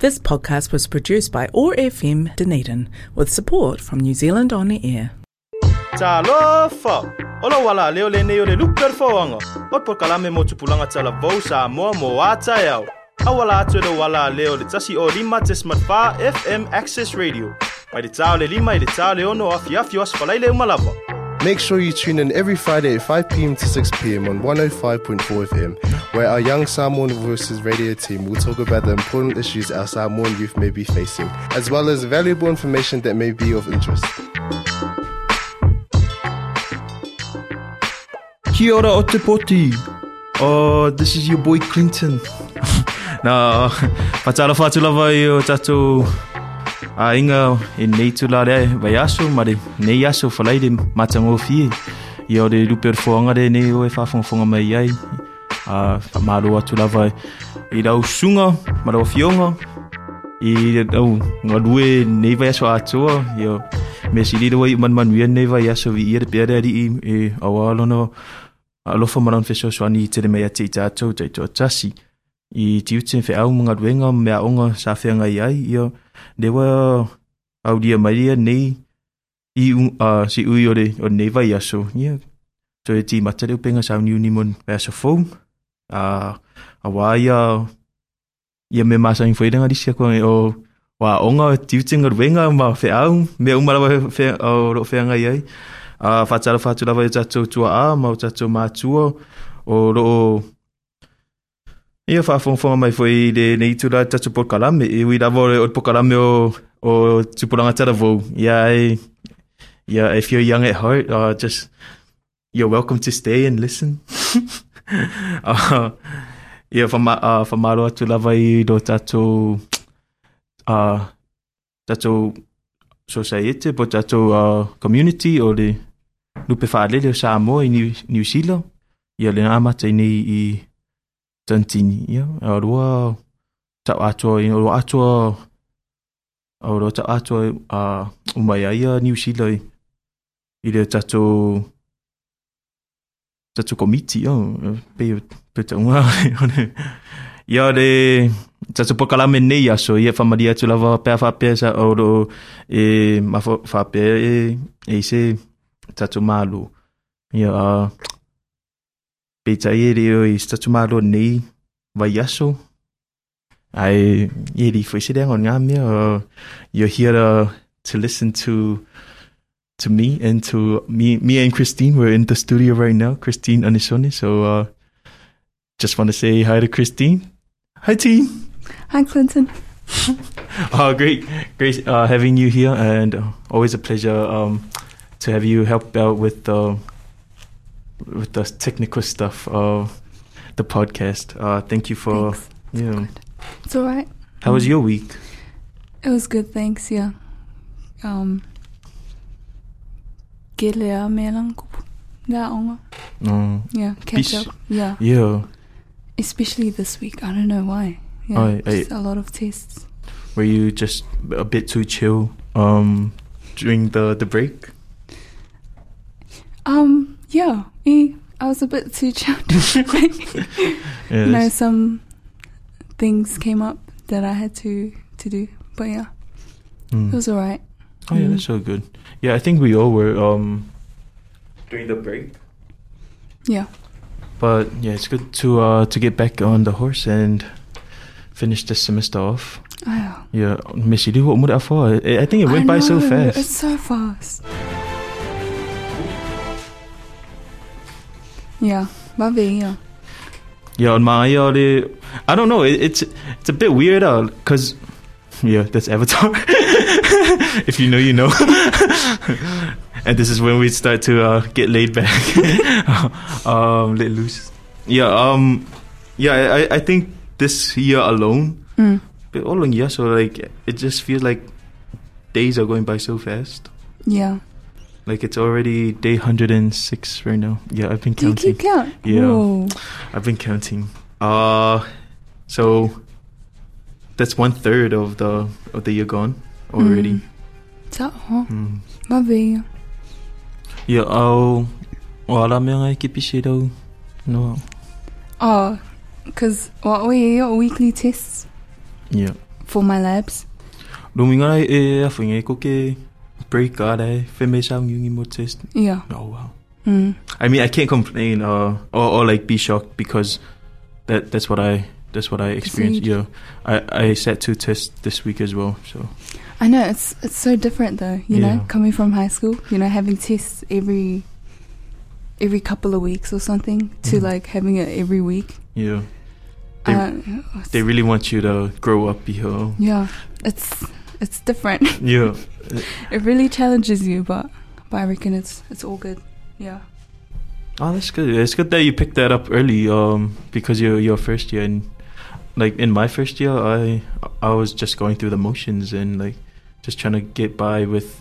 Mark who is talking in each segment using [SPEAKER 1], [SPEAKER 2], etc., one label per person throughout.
[SPEAKER 1] This podcast was produced by ORFM Dunedin with support from New Zealand On Air.
[SPEAKER 2] Talofa! Ola wala leo le neo le luper fawanga. Wat por kalame mo tupulanga tala vau sa moa mo ata yao. Awala atu le wala leo le tasi o lima tesmat fa FM Access Radio. Mai le tau le lima i le tau le ono afi afi was falai le umalava.
[SPEAKER 3] Make sure you tune in every Friday at 5 pm to 6 pm on 105.4 FM, where our Young Samoan Voices radio team will talk about the important issues our Samoan youth may be facing, as well as valuable information that may be of interest.
[SPEAKER 4] Kia ora o te poti. Oh, this is your boy Clinton.
[SPEAKER 2] Nā, patala fatu lava i o tatou a inga e nei tu la rea vai aso, ma re nei aso falai de matango fie. I o re luper fuanga re nei o e whawhongfonga mai ai. A whamaro atu lava i rau sunga, ma rau fionga. I rau ngā rue nei vai aso atua, i o me siriro ai manmanuia nei vai aso vi i re pere ari i e awalono alofa maran feso swani i tere mea te i tātou te tō tasi. I tiutin fe au mga ruenga mea onga sa whenga i ai ia dewa au dia maria nei i u, uh, si ui ore o nei vai aso. Ia, so e ti matareu penga sa uniu ni mon mea sa fōu. A, a wā ia, ia me masa infoiranga risi akua o wa onga tiutinga ruenga ma fe au me umara fe o ro fe anga ai a fatala fatula vai tato tua a ma tato ma tua o ro ia fa fon fon mai foi de nei tula tato por kalame e wi lavo o por kalame o o tupulanga tara vo ia e ia if you're young at heart uh, just you're welcome to stay and listen uh, ia fa ma uh, fa maro atu lava i do tato uh, tatou society po tatou uh, community o le lupe faalele o Samoa i New, New Zealand ia lenā amata i nei i tantini ia aroa tau atoa i oro atoa oro tau atoa a uh, umai ai a New Zealand i le tatou tatou komiti ia pe pe taunga ia le tatu pokalame nei aso ia famalia atu lava pea faapea sa oro e mafaapea e e se tatu malu ia a peitai e reo i tatu malu nei vai aso ai e ri foi sere ngon ngamia uh, you're here to, to listen to to me and to me me and Christine we're in the studio right now Christine Anisone so uh, just want to say hi to Christine hi team
[SPEAKER 5] Hi, Clinton.
[SPEAKER 2] Oh, great, great uh, having you here, and uh, always a pleasure um, to have you help out with uh, with the technical stuff of the podcast. Uh, thank you for
[SPEAKER 5] Thanks.
[SPEAKER 2] yeah.
[SPEAKER 5] It's all right.
[SPEAKER 2] How was your week?
[SPEAKER 5] It was good, thanks. Yeah. Um. er Get lea me lang kupu. Da onga.
[SPEAKER 2] Um,
[SPEAKER 5] Yeah. Catch
[SPEAKER 2] Bis-
[SPEAKER 5] up. Yeah.
[SPEAKER 2] yeah,
[SPEAKER 5] Especially this week. I don't know why. Yeah.
[SPEAKER 2] Oh, I-
[SPEAKER 5] just a lot of tests.
[SPEAKER 2] were you just a bit too chill um, during the the break?
[SPEAKER 5] Um. Yeah. eh, I was a bit too chilled.
[SPEAKER 2] Yeah,
[SPEAKER 5] no,
[SPEAKER 2] that's-
[SPEAKER 5] some things came up that I had to to do. But yeah,
[SPEAKER 2] mm.
[SPEAKER 5] it was all right.
[SPEAKER 2] Oh yeah,
[SPEAKER 5] Mm.
[SPEAKER 2] that's so good. Yeah, I think we all were um, during the break.
[SPEAKER 5] Yeah.
[SPEAKER 2] But yeah, it's good to uh to get back on the horse and finish this semester off.
[SPEAKER 5] Oh.
[SPEAKER 2] Yeah, Miss, you do what more that for? I I think it went
[SPEAKER 5] I
[SPEAKER 2] by so
[SPEAKER 5] know,
[SPEAKER 2] fast.
[SPEAKER 5] It's so fast. Yeah, vad vi gör.
[SPEAKER 2] Yeah, on my yeah, the- I don't know. It, it's it's a bit weird, uh, cause yeah, that's Avatar. if you know, you know. and this is when we start to uh, get laid back, um, let loose. Yeah, um, yeah. I I- I think this year alone,
[SPEAKER 5] Mm.
[SPEAKER 2] But all in year, so like it just feels like days are going by so fast.
[SPEAKER 5] Yeah.
[SPEAKER 2] Like it's already day 106 right now. Yeah, I've been
[SPEAKER 5] Do you
[SPEAKER 2] counting.
[SPEAKER 5] keep count?
[SPEAKER 2] Yeah.
[SPEAKER 5] Whoa.
[SPEAKER 2] I've been counting. Uh so that's one third of the of the year gone already.
[SPEAKER 5] Så, ja,
[SPEAKER 2] Mm.
[SPEAKER 5] vad vi gör.
[SPEAKER 2] Yeah. Oh, wala me ngai ki pishi tau. No.
[SPEAKER 5] Oh, because what we your weekly tests.
[SPEAKER 2] Yeah.
[SPEAKER 5] for my labs.
[SPEAKER 2] Lomingana e afunga e koke break out e finish out yungi mo test.
[SPEAKER 5] Yeah.
[SPEAKER 2] Oh wow.
[SPEAKER 5] Mm.
[SPEAKER 2] I mean I can't complain or or, or like be shocked because that that's what I that's what I experienced.
[SPEAKER 5] huge.
[SPEAKER 2] Yeah. I I set two tests this week as well. So
[SPEAKER 5] I know it's it's so different though. You know,
[SPEAKER 2] Yeah.
[SPEAKER 5] coming from high school, you know, having tests every every couple of weeks or something to
[SPEAKER 2] Mm.
[SPEAKER 5] like having it every week.
[SPEAKER 2] yeah. They-
[SPEAKER 5] uh,
[SPEAKER 2] They really want you to grow up, you know.
[SPEAKER 5] yeah, it's it's different.
[SPEAKER 2] Yeah.
[SPEAKER 5] it really challenges you, but but I reckon it's it's all good. Yeah.
[SPEAKER 2] Oh, that's good. It's good that you picked that up early, um, because you're your first year and like in my first year, I I was just going through the motions and like just trying to get by with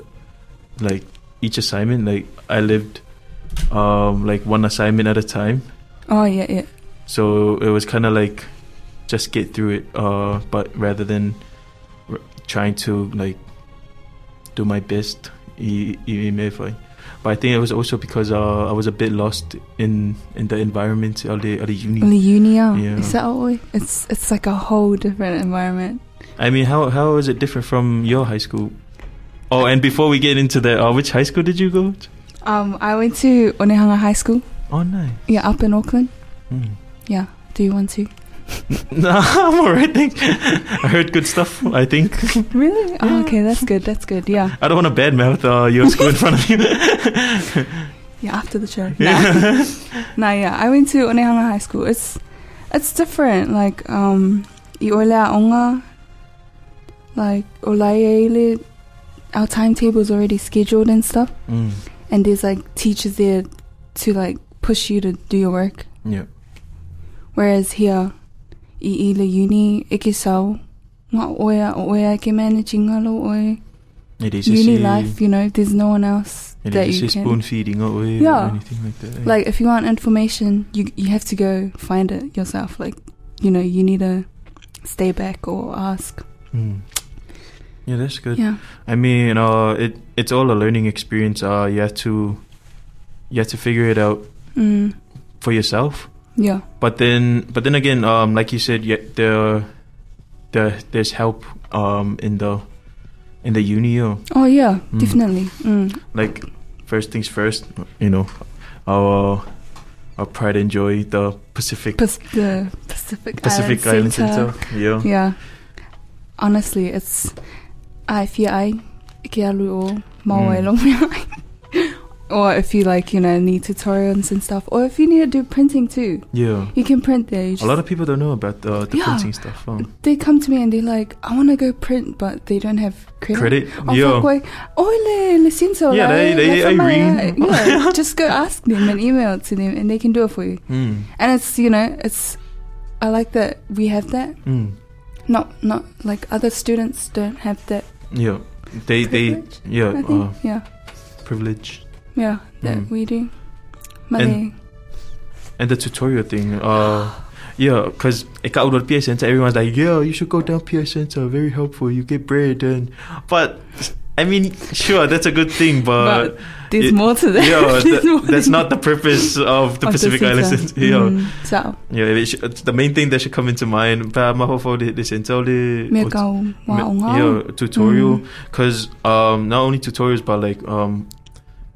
[SPEAKER 2] like each assignment. Like I lived um like one assignment at a time,
[SPEAKER 5] Oh yeah, yeah.
[SPEAKER 2] so it was kind of like just get through it. Uh, but rather than r- trying to like do my best, e- even if I, but I think it was also because uh, I was a bit lost in in the environment of the, of the uni.
[SPEAKER 5] Only uni, yeah.
[SPEAKER 2] Yeah.
[SPEAKER 5] Is that all? It's it's like a whole different environment.
[SPEAKER 2] I mean, how how is it different from your high school? Oh, and before we get into that, uh, which high school did you go? To?
[SPEAKER 5] Um, I went to Onehunga High School.
[SPEAKER 2] Oh, nice.
[SPEAKER 5] Yeah, up in Auckland.
[SPEAKER 2] Hmm.
[SPEAKER 5] Yeah. Do you want to?
[SPEAKER 2] no, I'm alright. Thanks. I heard good stuff. I think
[SPEAKER 5] Really? Oh, okay, that's good. That's good. Yeah.
[SPEAKER 2] I don't want to badmouth uh, your school in front of you.
[SPEAKER 5] Yeah. After the show. Nah. nah. Yeah. I went to Onehunga High School. It's it's different. Like um, i olea onga. Like olaele, our timetable's already scheduled and stuff.
[SPEAKER 2] Mm.
[SPEAKER 5] and there's like teachers there to like push you to do your work.
[SPEAKER 2] Yeah.
[SPEAKER 5] Whereas here, i ila uni e ke sau, ngā oia o oia ke manage ngalo oe.
[SPEAKER 2] It is
[SPEAKER 5] Uni
[SPEAKER 2] just a-
[SPEAKER 5] life, you know, there's no one else
[SPEAKER 2] And
[SPEAKER 5] that
[SPEAKER 2] it's
[SPEAKER 5] you
[SPEAKER 2] just
[SPEAKER 5] can.
[SPEAKER 2] spoon feeding or,
[SPEAKER 5] Yeah.
[SPEAKER 2] or anything like that. eh?
[SPEAKER 5] Like if you want information, you you have to go find it yourself. Like, you know, you need to stay back or ask.
[SPEAKER 2] Mm. Yeah, that's good.
[SPEAKER 5] Yeah,
[SPEAKER 2] I mean, uh, it it's all a learning experience. Uh, you have to you have to figure it out
[SPEAKER 5] mm,
[SPEAKER 2] for yourself.
[SPEAKER 5] yeah,
[SPEAKER 2] But then, but then again, um, like you said, yeah, the the there's help um in the in the uni. uh,
[SPEAKER 5] oh yeah,
[SPEAKER 2] Mm.
[SPEAKER 5] definitely. Mm.
[SPEAKER 2] Like first things first, you know, our our pride and joy, the Pacific
[SPEAKER 5] Pas- the Pacific
[SPEAKER 2] Pacific
[SPEAKER 5] Island
[SPEAKER 2] Island
[SPEAKER 5] Center.
[SPEAKER 2] Center. Yeah.
[SPEAKER 5] Yeah. Honestly, it's I feel I ke alu o maua
[SPEAKER 2] Mm.
[SPEAKER 5] mm. Or if you like, you know, need tutorials and stuff, or if you need to do printing too,
[SPEAKER 2] yeah.
[SPEAKER 5] you can print there. You
[SPEAKER 2] A lot of people don't know about the, the
[SPEAKER 5] Yeah.
[SPEAKER 2] printing stuff. huh?
[SPEAKER 5] they come to me and they're like, I want to go print, but they don't have credit.
[SPEAKER 2] Credit.
[SPEAKER 5] Oh,
[SPEAKER 2] yeah.
[SPEAKER 5] fuck, wait. Oile, licenso,
[SPEAKER 2] Yeah, they-
[SPEAKER 5] right?
[SPEAKER 2] they-
[SPEAKER 5] That's
[SPEAKER 2] I
[SPEAKER 5] my-
[SPEAKER 2] read.
[SPEAKER 5] uh, Yeah, just go ask them and email it to them, and they can do it for you.
[SPEAKER 2] Mm.
[SPEAKER 5] And it's, you know, it's. I like that we have that.
[SPEAKER 2] Mm.
[SPEAKER 5] Not, not like other students don't have that
[SPEAKER 2] Yeah. They they
[SPEAKER 5] Privilege,
[SPEAKER 2] yeah
[SPEAKER 5] I think.
[SPEAKER 2] uh,
[SPEAKER 5] yeah.
[SPEAKER 2] privilege
[SPEAKER 5] Yeah, that
[SPEAKER 2] Mm.
[SPEAKER 5] we do. Malay.
[SPEAKER 2] and the tutorial thing. Uh, yeah, because it got out of Pierce Center. Everyone's like, yeah, you should go down Pierce Center. Very helpful. You get bread and but. I mean, sure, that's a good thing, but,
[SPEAKER 5] There's
[SPEAKER 2] it-
[SPEAKER 5] more to that.
[SPEAKER 2] yeah,
[SPEAKER 5] There's
[SPEAKER 2] tha-
[SPEAKER 5] more
[SPEAKER 2] that's
[SPEAKER 5] to
[SPEAKER 2] not the purpose of the
[SPEAKER 5] Of
[SPEAKER 2] Pacific Islands.
[SPEAKER 5] center.
[SPEAKER 2] Yeah,
[SPEAKER 5] Mm, So,
[SPEAKER 2] yeah. It should, it's the main thing that should come into mind, but my whole the center, the
[SPEAKER 5] me kau
[SPEAKER 2] yeah
[SPEAKER 5] waonga.
[SPEAKER 2] tutorial
[SPEAKER 5] Mm.
[SPEAKER 2] because um not only tutorials but like um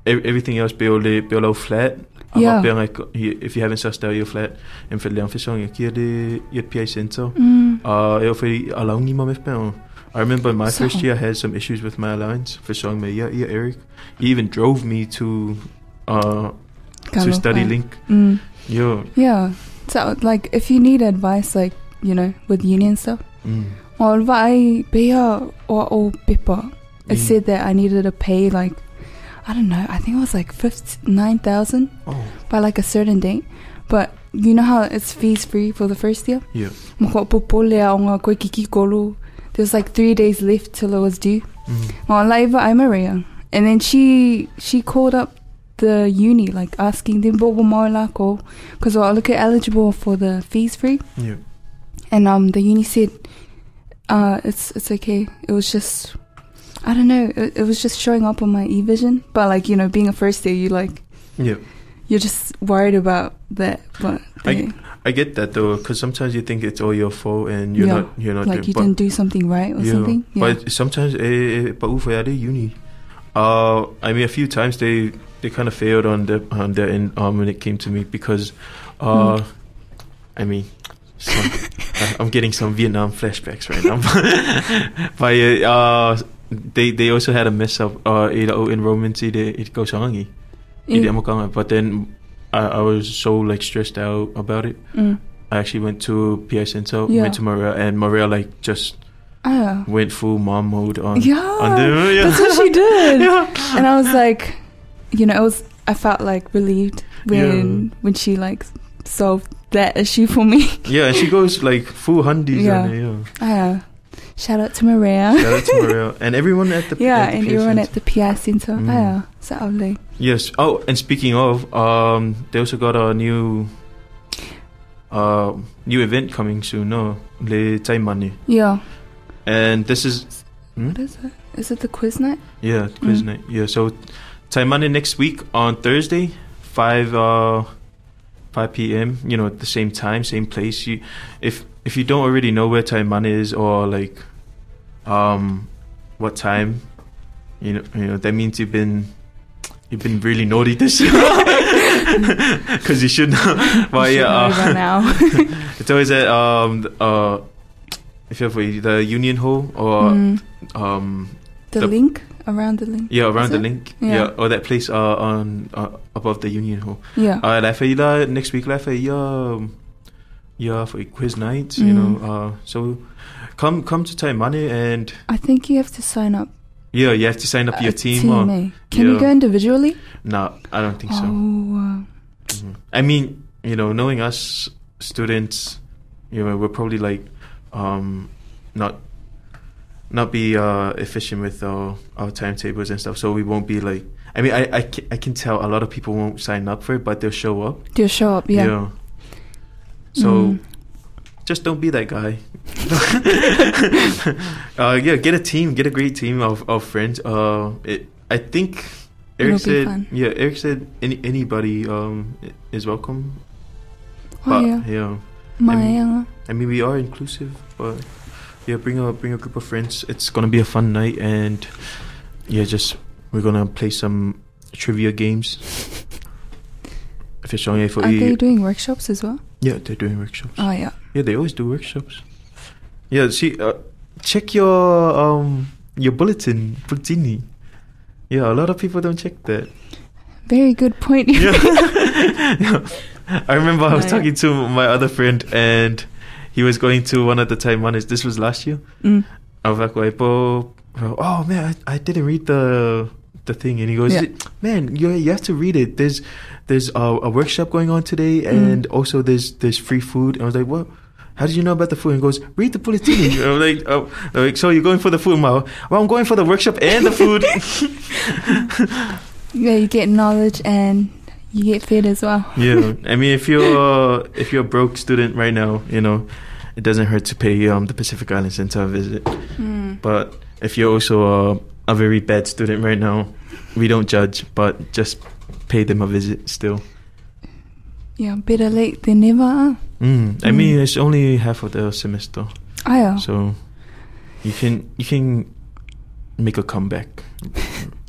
[SPEAKER 2] ev- everything else be only be all flat
[SPEAKER 5] Yeah.
[SPEAKER 2] Being like if you haven't sussed out your flat and for learn for song you get the your PA center
[SPEAKER 5] Mm.
[SPEAKER 2] uh if we allow me my I remember my
[SPEAKER 5] So-
[SPEAKER 2] first year I had some issues with my allowance for song me yeah yeah Eric he even drove me to uh to
[SPEAKER 5] Kalau,
[SPEAKER 2] study
[SPEAKER 5] uh,
[SPEAKER 2] link
[SPEAKER 5] Mm.
[SPEAKER 2] yeah
[SPEAKER 5] Yeah. So, like, if you need advice, like, you know, with union stuff,
[SPEAKER 2] mm.
[SPEAKER 5] or vai beha or o pipa, it said that I needed to pay, like, I don't know, I think it was like 9,000
[SPEAKER 2] oh
[SPEAKER 5] by like a certain date. But you know how it's fees free for the first year?
[SPEAKER 2] yeah
[SPEAKER 5] Mō kua popole a o ngā koikiki kolu. There was like three days left till it was due.
[SPEAKER 2] mm.
[SPEAKER 5] Ngā laiva ai Maria. And then she she called up the uni, like asking them what mau lako, because I look at eligible for the fees free.
[SPEAKER 2] yeah
[SPEAKER 5] And um, the uni said, uh, it's it's okay. It was just, I don't know. It, it was just showing up on my e vision. But like you know, being a first year, you like
[SPEAKER 2] yeah
[SPEAKER 5] you're just worried about that. But
[SPEAKER 2] I-
[SPEAKER 5] they-
[SPEAKER 2] I get that though, because sometimes you think it's all your fault and you're
[SPEAKER 5] Yeah,
[SPEAKER 2] not you're not
[SPEAKER 5] like
[SPEAKER 2] doing-
[SPEAKER 5] you
[SPEAKER 2] but-
[SPEAKER 5] didn't do something right or
[SPEAKER 2] yeah,
[SPEAKER 5] something. Yeah.
[SPEAKER 2] But sometimes, eh, eh, but for at uni, uh, I mean, a few times they they kind of failed on the on their end um, when it came to me because, uh,
[SPEAKER 5] Mm.
[SPEAKER 2] I mean. Some, I- I'm getting some Vietnam flashbacks right now, but uh, uh, they they also had a mess up. Uh, you know, in romance, it it goes hangy.
[SPEAKER 5] Yeah.
[SPEAKER 2] Idemo kanga. But then I, I was so like stressed out about it.
[SPEAKER 5] Mm.
[SPEAKER 2] I actually went to PI Center,
[SPEAKER 5] Yeah.
[SPEAKER 2] went to Maria, and Maria like just
[SPEAKER 5] Oh.
[SPEAKER 2] went full mom mode on.
[SPEAKER 5] yeah.
[SPEAKER 2] on the, yeah.
[SPEAKER 5] That's what she did.
[SPEAKER 2] yeah.
[SPEAKER 5] And I was like, you know, I was I felt like relieved when when she like solved that issue for me.
[SPEAKER 2] yeah, and she goes like full hundies
[SPEAKER 5] Yeah.
[SPEAKER 2] on it. Yeah.
[SPEAKER 5] Uh, shout out to Maria.
[SPEAKER 2] Shout out to Maria and everyone at the
[SPEAKER 5] yeah,
[SPEAKER 2] at the
[SPEAKER 5] and
[SPEAKER 2] PI
[SPEAKER 5] everyone
[SPEAKER 2] Center.
[SPEAKER 5] at the PI Center.
[SPEAKER 2] Mm.
[SPEAKER 5] Yeah, so lovely.
[SPEAKER 2] yes. Oh, and speaking of, um, they also got a new. Uh, new event coming soon, no? Le Taimani.
[SPEAKER 5] Yeah.
[SPEAKER 2] And this is
[SPEAKER 5] What is it? Is it the quiz night?
[SPEAKER 2] Yeah, quiz
[SPEAKER 5] Mm.
[SPEAKER 2] night. Yeah, so Taimani next week on Thursday, five uh, five p.m. You know, at the same time, same place. You, if if you don't already know where Taimani is or like, um, what time, you know, you know that means you've been you've been really naughty this year because you should. know. But
[SPEAKER 5] You should
[SPEAKER 2] yeah,
[SPEAKER 5] know
[SPEAKER 2] uh,
[SPEAKER 5] by now.
[SPEAKER 2] it's always at um th- uh, if you have the Union Hall or
[SPEAKER 5] Mm.
[SPEAKER 2] um
[SPEAKER 5] The,
[SPEAKER 2] the-
[SPEAKER 5] link around the link.
[SPEAKER 2] yeah, around
[SPEAKER 5] Is
[SPEAKER 2] the
[SPEAKER 5] it?
[SPEAKER 2] link.
[SPEAKER 5] Yeah.
[SPEAKER 2] Yeah. or that place uh, on uh, above the Union Hall.
[SPEAKER 5] Yeah.
[SPEAKER 2] Uh, like for you, uh, next week, like for you, um, yeah, for quiz night, you
[SPEAKER 5] Mm.
[SPEAKER 2] know. Uh, so come, come to Taimani, and
[SPEAKER 5] I think you have to sign up.
[SPEAKER 2] yeah, you have to sign up
[SPEAKER 5] a
[SPEAKER 2] your team. or,
[SPEAKER 5] eh? Can you
[SPEAKER 2] yeah.
[SPEAKER 5] go individually?
[SPEAKER 2] Nah, I don't think so.
[SPEAKER 5] Oh,
[SPEAKER 2] Mhm. I mean, you know, knowing us students, you know, we're probably like, um, not, not be uh, efficient with our, our timetables and stuff. So we won't be like. I mean, I, I, ca- I can tell a lot of people won't sign up for it, but they'll show up.
[SPEAKER 5] uh, do you show up? Yeah.
[SPEAKER 2] So
[SPEAKER 5] Mm.
[SPEAKER 2] just don't be that guy. uh, yeah, get a team, get a great team of, of friends. Uh, it, I think Eric
[SPEAKER 5] It'll be
[SPEAKER 2] said,
[SPEAKER 5] fun.
[SPEAKER 2] yeah, Eric said any, anybody um, i- is welcome.
[SPEAKER 5] Oh
[SPEAKER 2] but,
[SPEAKER 5] yeah.
[SPEAKER 2] yeah,
[SPEAKER 5] My uh,
[SPEAKER 2] I mean we are inclusive, but yeah, bring a bring a group of friends. It's gonna be a fun night, and yeah, just we're gonna play some trivia games. If it's only for
[SPEAKER 5] are
[SPEAKER 2] you-
[SPEAKER 5] they doing workshops as well?
[SPEAKER 2] yeah, they're doing workshops.
[SPEAKER 5] Oh yeah.
[SPEAKER 2] Yeah, they always do workshops. Yeah, see, uh, check your um your bulletin, bulletini. Yeah, a lot of people don't check that.
[SPEAKER 5] Very good point.
[SPEAKER 2] Yeah. I remember I was
[SPEAKER 5] Right.
[SPEAKER 2] talking to my other friend, and he was going to one of the Taiwanis. This was last year.
[SPEAKER 5] Mm.
[SPEAKER 2] I was like, "Wait, bro, bro, oh man, I, I didn't read the the thing." And he goes,
[SPEAKER 5] Yeah.
[SPEAKER 2] "Man, you you have to read it. There's there's a, a workshop going on today, and also there's there's free food." And I was like, "What?" How did you know about the food? And he goes, read the bulletin. And I'm like, oh, they're like, so you're going for the food, Mao? Well, I'm going for the workshop and the food.
[SPEAKER 5] Yeah, you get knowledge and you get fed as well.
[SPEAKER 2] yeah, I mean, if you're uh, if you're a broke student right now, you know, it doesn't hurt to pay um, the Pacific Island Center a visit.
[SPEAKER 5] Mm.
[SPEAKER 2] But if you're also uh, a very bad student right now, we don't judge, but just pay them a visit still.
[SPEAKER 5] Yeah, better late than never. uh.
[SPEAKER 2] Mm. I
[SPEAKER 5] Mm.
[SPEAKER 2] mean, it's only half of the semester,
[SPEAKER 5] Oh yeah.
[SPEAKER 2] so you can you can make a comeback,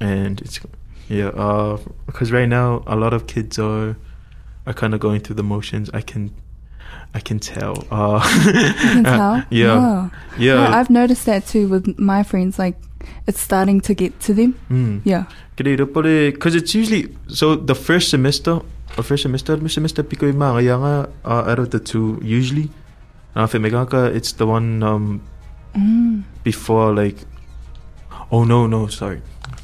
[SPEAKER 2] and it's yeah. Because right now, a lot of kids are are kind of going through the motions. I can I can tell. Uh,
[SPEAKER 5] You can tell.
[SPEAKER 2] yeah,
[SPEAKER 5] Wow.
[SPEAKER 2] yeah.
[SPEAKER 5] No, I've noticed that too with my friends. Like, it's starting to get to them.
[SPEAKER 2] Mm.
[SPEAKER 5] Yeah.
[SPEAKER 2] because it's usually so the first semester or first semester the semester piko i mga yanga uh, out of the two usually na fe megaka it's the one um
[SPEAKER 5] Mm.
[SPEAKER 2] before like oh no no sorry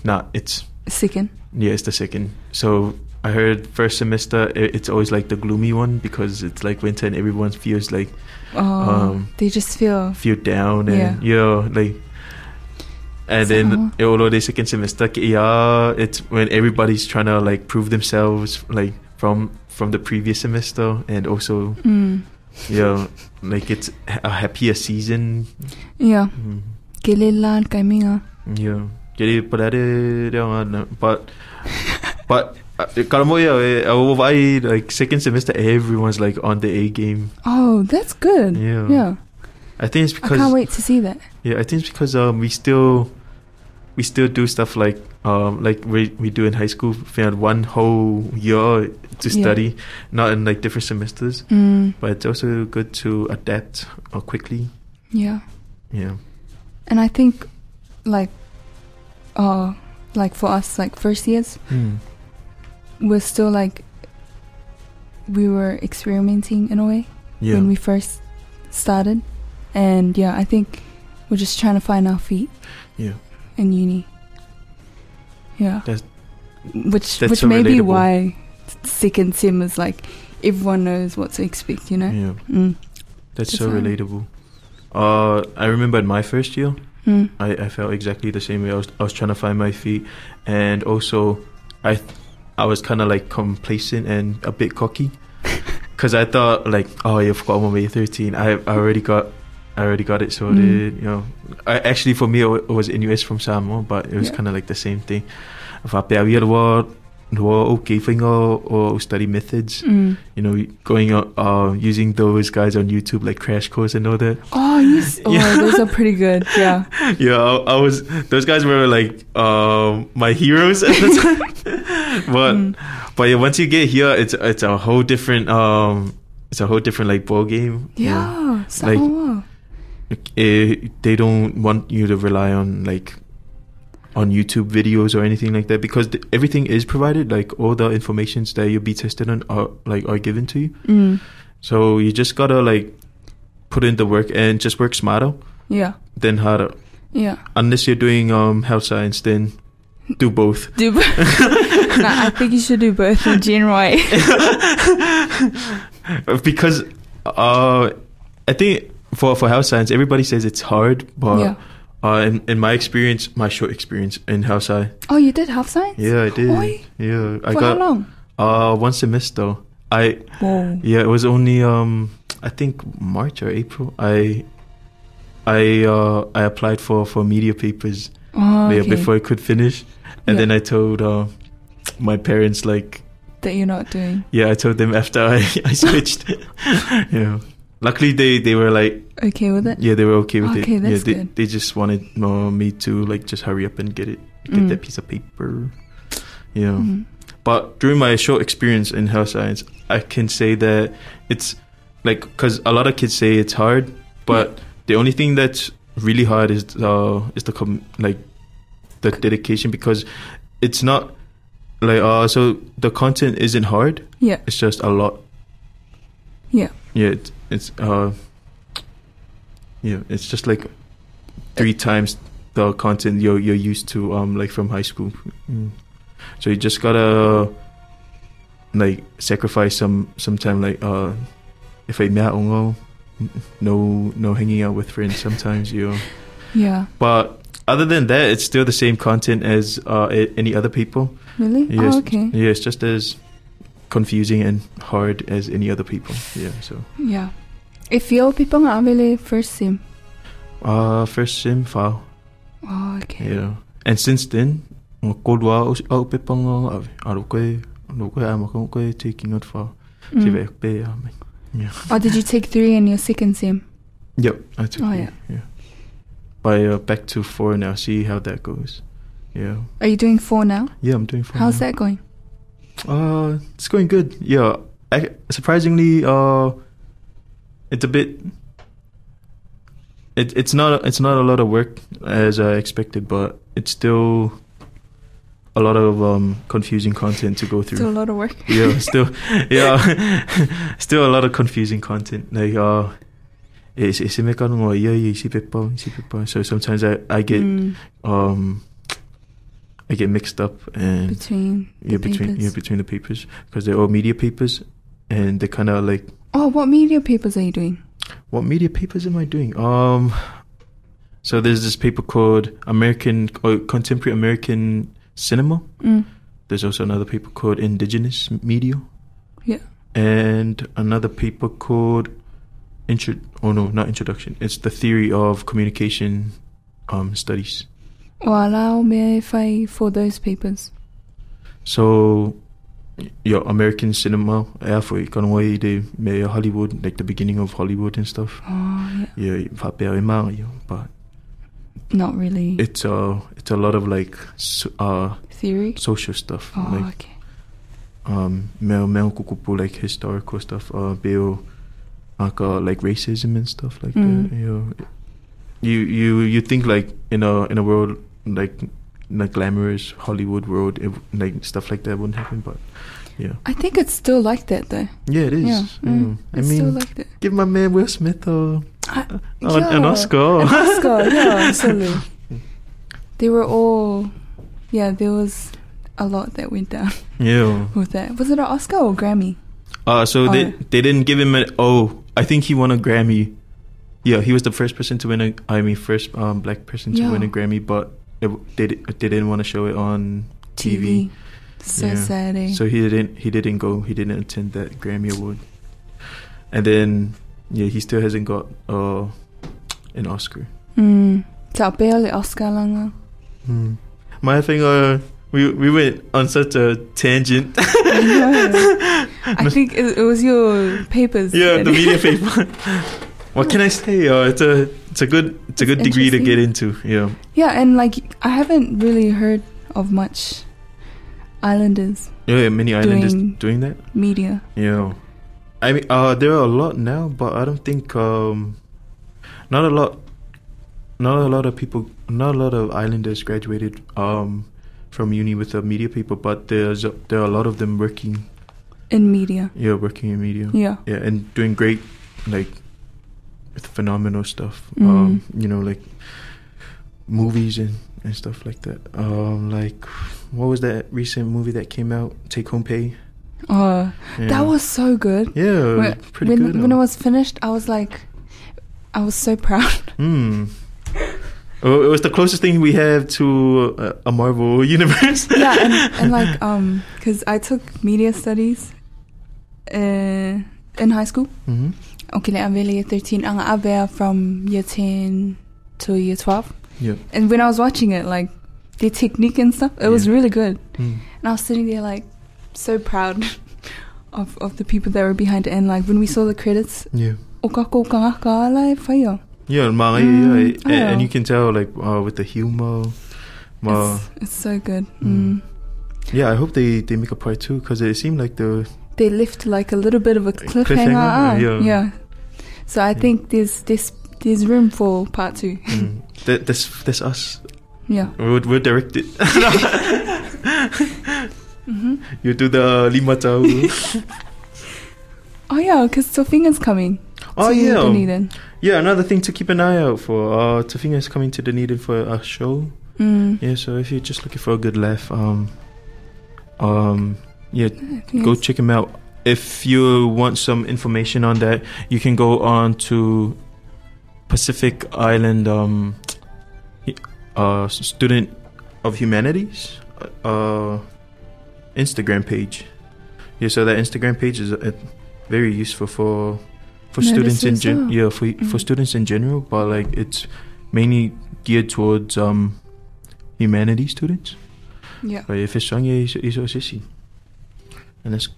[SPEAKER 2] nah it's
[SPEAKER 5] Second.
[SPEAKER 2] yeah it's the second so I heard first semester i- it's always like the gloomy one because it's like winter and everyone feels like
[SPEAKER 5] Oh,
[SPEAKER 2] Um,
[SPEAKER 5] they just feel.
[SPEAKER 2] feel down and yeah, like and
[SPEAKER 5] So-
[SPEAKER 2] then eh, although the second semester k- yeah it's when everybody's trying to like prove themselves like from from the previous semester and also
[SPEAKER 5] Mm.
[SPEAKER 2] yeah like it's ha- a happier season
[SPEAKER 5] Yeah.
[SPEAKER 2] Mm,
[SPEAKER 5] Gelilan kaiminga.
[SPEAKER 2] yeah Jadi, pada dia- dia orang nak- but but uh, Karamoya, eh, uh, why, like, second semester, everyone's, like, on the A game.
[SPEAKER 5] Oh, that's good.
[SPEAKER 2] Yeah.
[SPEAKER 5] Yeah.
[SPEAKER 2] I think it's
[SPEAKER 5] I
[SPEAKER 2] because...
[SPEAKER 5] can't wait to see that.
[SPEAKER 2] Yeah, I think it's because um we still we still do stuff like um like we we do in high school we had one whole year to
[SPEAKER 5] Yeah.
[SPEAKER 2] study, not in like different semesters.
[SPEAKER 5] Mm,
[SPEAKER 2] But it's also good to adapt uh, quickly.
[SPEAKER 5] yeah.
[SPEAKER 2] Yeah.
[SPEAKER 5] And I think, like, uh, like for us, like first years, we're still like, we were experimenting in a way
[SPEAKER 2] Yeah.
[SPEAKER 5] when we first started, and yeah, I think we're just trying to find our feet.
[SPEAKER 2] Yeah.
[SPEAKER 5] In uni. Yeah.
[SPEAKER 2] That's-
[SPEAKER 5] which
[SPEAKER 2] that's
[SPEAKER 5] which
[SPEAKER 2] so
[SPEAKER 5] may be
[SPEAKER 2] relatable.
[SPEAKER 5] why second sim is like everyone knows what to expect, you know.
[SPEAKER 2] yeah.
[SPEAKER 5] Mm.
[SPEAKER 2] That's
[SPEAKER 5] It's
[SPEAKER 2] so
[SPEAKER 5] fine.
[SPEAKER 2] relatable. Uh, I remember in my first year,
[SPEAKER 5] Mm.
[SPEAKER 2] I, I felt exactly the same way. I was, I was trying to find my feet, and also, I th- I was kind of like complacent and a bit cocky, because I thought like, oh, you've got one way thirteen. I I already got. I already got it
[SPEAKER 5] Mm.
[SPEAKER 2] sorted, you know. I, actually, for me, it wa- it was Inuit from Samoa, but it was
[SPEAKER 5] Yeah.
[SPEAKER 2] kind of like the same thing. If I pay a weird word, or okay, finger, or study methods,
[SPEAKER 5] Mm.
[SPEAKER 2] you know, going out, uh, using those guys on YouTube like Crash Course and all that.
[SPEAKER 5] Oh, yes. Oh,
[SPEAKER 2] Yeah.
[SPEAKER 5] those are pretty good. Yeah.
[SPEAKER 2] Yeah, I, I was. Those guys were like um, my heroes at the time. but
[SPEAKER 5] Mm.
[SPEAKER 2] but yeah, once you get here, it's it's a whole different um, it's a whole different like ball game.
[SPEAKER 5] Yeah.
[SPEAKER 2] Like-
[SPEAKER 5] Samoa.
[SPEAKER 2] Eh, they don't want you to rely on like on YouTube videos or anything like that because th- everything is provided. Like all the informations that you'll be tested on are like are given to you.
[SPEAKER 5] mm.
[SPEAKER 2] So you just gotta like put in the work and just work smarter
[SPEAKER 5] Yeah.
[SPEAKER 2] than harder.
[SPEAKER 5] Yeah.
[SPEAKER 2] Unless you're doing um health science, then do both.
[SPEAKER 5] Do bo- Nah, I think you should do both in general. eh?
[SPEAKER 2] because uh, I think for for health science, everybody says it's hard, but
[SPEAKER 5] Yeah.
[SPEAKER 2] uh, in, in my experience, my short experience in health science,
[SPEAKER 5] Oh, you did half science?
[SPEAKER 2] yeah, I did.
[SPEAKER 5] Oi.
[SPEAKER 2] Yeah, I
[SPEAKER 5] For how
[SPEAKER 2] got
[SPEAKER 5] long?
[SPEAKER 2] uh one semester. I
[SPEAKER 5] Whoa.
[SPEAKER 2] yeah, it was only um I think March or April. I I uh I applied for for media papers
[SPEAKER 5] Oh,
[SPEAKER 2] yeah,
[SPEAKER 5] okay.
[SPEAKER 2] before I could finish, and
[SPEAKER 5] Yeah.
[SPEAKER 2] then I told uh, my parents like
[SPEAKER 5] that you're not doing.
[SPEAKER 2] Yeah, I told them after I, I switched. yeah. Luckily, they, they were like,
[SPEAKER 5] Okay with it?
[SPEAKER 2] yeah, they were okay with it.
[SPEAKER 5] Okay, that's
[SPEAKER 2] yeah, they,
[SPEAKER 5] good.
[SPEAKER 2] they just wanted uh, me to like just hurry up and get it, get
[SPEAKER 5] Mm.
[SPEAKER 2] that piece of paper. Yeah.
[SPEAKER 5] Mm.
[SPEAKER 2] But during my short experience in health science, I can say that it's like because a lot of kids say it's hard, but the only thing that's really hard is uh is the com- like the dedication because it's not like uh so the content isn't hard.
[SPEAKER 5] Yeah.
[SPEAKER 2] It's just a lot.
[SPEAKER 5] Yeah.
[SPEAKER 2] Yeah. It's, it's uh yeah. It's just like three times the content you're you're used to um like from high school. Mm. So you just gotta like sacrifice some some time like uh if I met ungo no no hanging out with friends sometimes you know.
[SPEAKER 5] Yeah.
[SPEAKER 2] but other than that it's still the same content as uh a- any other people
[SPEAKER 5] Really?
[SPEAKER 2] yes
[SPEAKER 5] Oh, okay.
[SPEAKER 2] yeah it's just as confusing and hard as any other people yeah so
[SPEAKER 5] Yeah. If you're people nga amele first sim.
[SPEAKER 2] uh first sim file
[SPEAKER 5] Oh, okay.
[SPEAKER 2] yeah and since then kodwa au pe pang ave aru koe no koe ama koe taking out for
[SPEAKER 5] Mm.
[SPEAKER 2] sive pe ame
[SPEAKER 5] Oh, did you take three in your second sim?
[SPEAKER 2] Yep, I took
[SPEAKER 5] Oh,
[SPEAKER 2] three,
[SPEAKER 5] yeah.
[SPEAKER 2] yeah. But uh, back to four now. See how that goes. Yeah,
[SPEAKER 5] Are you doing four now?
[SPEAKER 2] yeah, I'm doing four.
[SPEAKER 5] How's
[SPEAKER 2] now.
[SPEAKER 5] that going?
[SPEAKER 2] Uh, it's going good. Yeah, I, surprisingly, uh, it's a bit. It, it's not it's not a lot of work as I expected, but it's still a lot of um, confusing content to go through.
[SPEAKER 5] Still a lot of work.
[SPEAKER 2] yeah still yeah still a lot of confusing content like uh it's it's in or yeah you see people you see people so sometimes i i get
[SPEAKER 5] Mm,
[SPEAKER 2] um i get mixed up and
[SPEAKER 5] between.
[SPEAKER 2] yeah
[SPEAKER 5] the
[SPEAKER 2] between
[SPEAKER 5] papers.
[SPEAKER 2] yeah between the papers because they're all media papers and they're kind of like
[SPEAKER 5] Oh, what media papers are you doing?
[SPEAKER 2] what media papers am i doing um so there's this paper called american or contemporary american cinema
[SPEAKER 5] Mm.
[SPEAKER 2] There's also another paper called Indigenous Media.
[SPEAKER 5] Yeah.
[SPEAKER 2] And another paper called intro. Oh no, not introduction. It's the theory of communication um, studies.
[SPEAKER 5] Oh, Well, allow me if I for those papers.
[SPEAKER 2] So your American cinema yeah, for Conway the mayor Hollywood, like the beginning of Hollywood and stuff.
[SPEAKER 5] Oh, yeah.
[SPEAKER 2] Yeah, Faber and Mario, but
[SPEAKER 5] Not really.
[SPEAKER 2] it's uh it's a lot of like so, uh
[SPEAKER 5] Theory?
[SPEAKER 2] social stuff.
[SPEAKER 5] Oh,
[SPEAKER 2] like
[SPEAKER 5] okay.
[SPEAKER 2] um mel mel kukupu like historical stuff, uh bio like, uh, like racism and stuff like
[SPEAKER 5] Mhm.
[SPEAKER 2] that. You know. you you you think like in a in a world like in a glamorous Hollywood world it, w- like stuff like that wouldn't happen but yeah.
[SPEAKER 5] I think it's still like that though.
[SPEAKER 2] Yeah it is.
[SPEAKER 5] Yeah. Mm.
[SPEAKER 2] I
[SPEAKER 5] it's
[SPEAKER 2] mean
[SPEAKER 5] still like that.
[SPEAKER 2] Give my man Will Smith a,
[SPEAKER 5] I-
[SPEAKER 2] an, Oh, an
[SPEAKER 5] yeah.
[SPEAKER 2] Oscar.
[SPEAKER 5] An Oscar, yeah, absolutely. They were all, yeah, there was a lot that went down
[SPEAKER 2] Yeah.
[SPEAKER 5] with that. Was it an Oscar or Grammy?
[SPEAKER 2] Uh, so
[SPEAKER 5] Oh,
[SPEAKER 2] they
[SPEAKER 5] yeah.
[SPEAKER 2] they didn't give him an. Oh, I think he won a Grammy. Yeah, he was the first person to win a. I mean, first um, black person to win a
[SPEAKER 5] Yeah.
[SPEAKER 2] Grammy, but it, they di- they didn't want to show it on TV.
[SPEAKER 5] So
[SPEAKER 2] Yeah.
[SPEAKER 5] sad, eh?
[SPEAKER 2] So he didn't he didn't go. He didn't attend that Grammy award. And then yeah, he still hasn't got uh an Oscar.
[SPEAKER 5] Mm. Ta apeo le Oscar langa.
[SPEAKER 2] Hmm. My thing, uh, we we went on such a tangent.
[SPEAKER 5] I think it, it was your papers.
[SPEAKER 2] Yeah,
[SPEAKER 5] that-
[SPEAKER 2] the media paper. what can I say? Uh, it's a it's a good it's a good
[SPEAKER 5] It's
[SPEAKER 2] degree to get into.
[SPEAKER 5] interesting.
[SPEAKER 2] Yeah.
[SPEAKER 5] yeah, and like I haven't really heard of much Islanders
[SPEAKER 2] Yeah, yeah, many islanders
[SPEAKER 5] Doing-
[SPEAKER 2] doing that.
[SPEAKER 5] media.
[SPEAKER 2] Yeah. I mean, uh, there are a lot now, but I don't think um, not a lot, not a lot of people, not a lot of islanders graduated um from uni with a media paper, but there's a, there are a lot of them working.
[SPEAKER 5] In media.
[SPEAKER 2] Yeah, working in media.
[SPEAKER 5] Yeah.
[SPEAKER 2] yeah and doing great like with phenomenal stuff
[SPEAKER 5] Mm-hmm.
[SPEAKER 2] um you know like movies and and stuff like that um like what was that recent movie that came out take home pay
[SPEAKER 5] Oh,
[SPEAKER 2] yeah.
[SPEAKER 5] that was so good.
[SPEAKER 2] yeah
[SPEAKER 5] when,
[SPEAKER 2] Uh, pretty
[SPEAKER 5] when,
[SPEAKER 2] good
[SPEAKER 5] when it
[SPEAKER 2] um,
[SPEAKER 5] was finished, I was like, I was so proud.
[SPEAKER 2] hmm Oh, it was the closest thing we have to uh, a Marvel universe.
[SPEAKER 5] yeah, and, and like, um, because I took media studies uh, in high school.
[SPEAKER 2] hmm
[SPEAKER 5] Okay, like I'm really year 13. I'm aware from year 10 to year 12.
[SPEAKER 2] Yeah.
[SPEAKER 5] And when I was watching it, like, the technique and stuff, it was
[SPEAKER 2] Yeah.
[SPEAKER 5] really good.
[SPEAKER 2] Mm.
[SPEAKER 5] And I was sitting there, like, so proud of, of the people that were behind it. And, like, when we saw the credits,
[SPEAKER 2] Yeah.
[SPEAKER 5] o ka ko kanga ka lai whaia.
[SPEAKER 2] Yeah, and Maria,
[SPEAKER 5] Mm,
[SPEAKER 2] yeah, and, and
[SPEAKER 5] oh.
[SPEAKER 2] you can tell like uh, with the humor. Uh,
[SPEAKER 5] It's, it's so good.
[SPEAKER 2] Mm.
[SPEAKER 5] Mm.
[SPEAKER 2] yeah, I hope they, they make a part two because it seemed like the
[SPEAKER 5] They left like a little bit of a
[SPEAKER 2] cliffhanger,
[SPEAKER 5] cliffhanger. ah,
[SPEAKER 2] yeah. Hmm.
[SPEAKER 5] yeah. So I think there's there's there's room for part two.
[SPEAKER 2] Mm. That, that's that's us.
[SPEAKER 5] Yeah.
[SPEAKER 2] We'll, we'll direct it.
[SPEAKER 5] hmm
[SPEAKER 2] you do the lima tau.
[SPEAKER 5] Oh yeah, because Sofinga's coming.
[SPEAKER 2] oh
[SPEAKER 5] to
[SPEAKER 2] yeah,
[SPEAKER 5] Dunedin.
[SPEAKER 2] yeah. Another thing to keep an eye out for. Uh, Tafinga is coming to Dunedin for a show.
[SPEAKER 5] Mm.
[SPEAKER 2] Yeah, so if you're just looking for a good laugh, um, um, yeah, go
[SPEAKER 5] Yes.
[SPEAKER 2] check him out. If you want some information on that, you can go on to Pacific Island um, uh, Student of Humanities uh, Instagram page. Yeah, so that Instagram page is uh, very useful for for
[SPEAKER 5] Notice
[SPEAKER 2] students in
[SPEAKER 5] as
[SPEAKER 2] gen-
[SPEAKER 5] well.
[SPEAKER 2] yeah for for
[SPEAKER 5] Mhm.
[SPEAKER 2] students in general, but like it's mainly geared towards um, humanities students.
[SPEAKER 5] Yeah.
[SPEAKER 2] But if it's Sanya, he's, he's our sissy. And that's,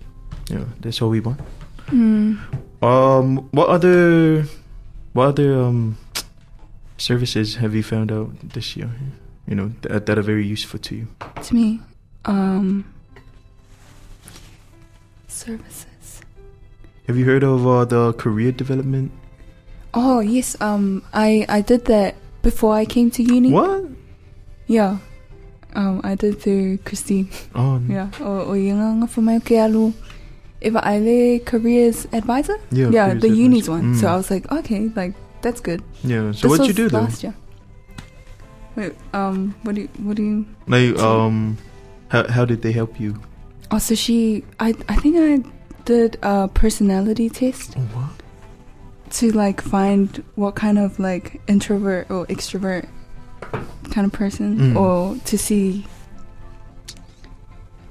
[SPEAKER 2] yeah, that's all we want.
[SPEAKER 5] Mm.
[SPEAKER 2] Um, what other, what other um, services have you found out this year? You know that, that are very useful to you.
[SPEAKER 5] To me, um, services.
[SPEAKER 2] Have you heard of uh, the career development?
[SPEAKER 5] Oh yes. Um, I I did that before I came to uni.
[SPEAKER 2] What?
[SPEAKER 5] Yeah. Um, I did through Christine.
[SPEAKER 2] Oh, n-
[SPEAKER 5] Yeah, o, o yunganga for my kialu. If I le careers advisor,
[SPEAKER 2] yeah,
[SPEAKER 5] yeah,
[SPEAKER 2] careers
[SPEAKER 5] the
[SPEAKER 2] advice.
[SPEAKER 5] uni's one. So
[SPEAKER 2] Mm.
[SPEAKER 5] I was like, okay, like that's good.
[SPEAKER 2] yeah. So
[SPEAKER 5] This
[SPEAKER 2] what you
[SPEAKER 5] was
[SPEAKER 2] do though?
[SPEAKER 5] last year? Wait, um, what do you, what do you?
[SPEAKER 2] Like, um, how how did they help you?
[SPEAKER 5] Oh, so she, I, I think I did a personality test
[SPEAKER 2] Oh, what?
[SPEAKER 5] to like find what kind of like introvert or extrovert kind of person,
[SPEAKER 2] Mm.
[SPEAKER 5] or to see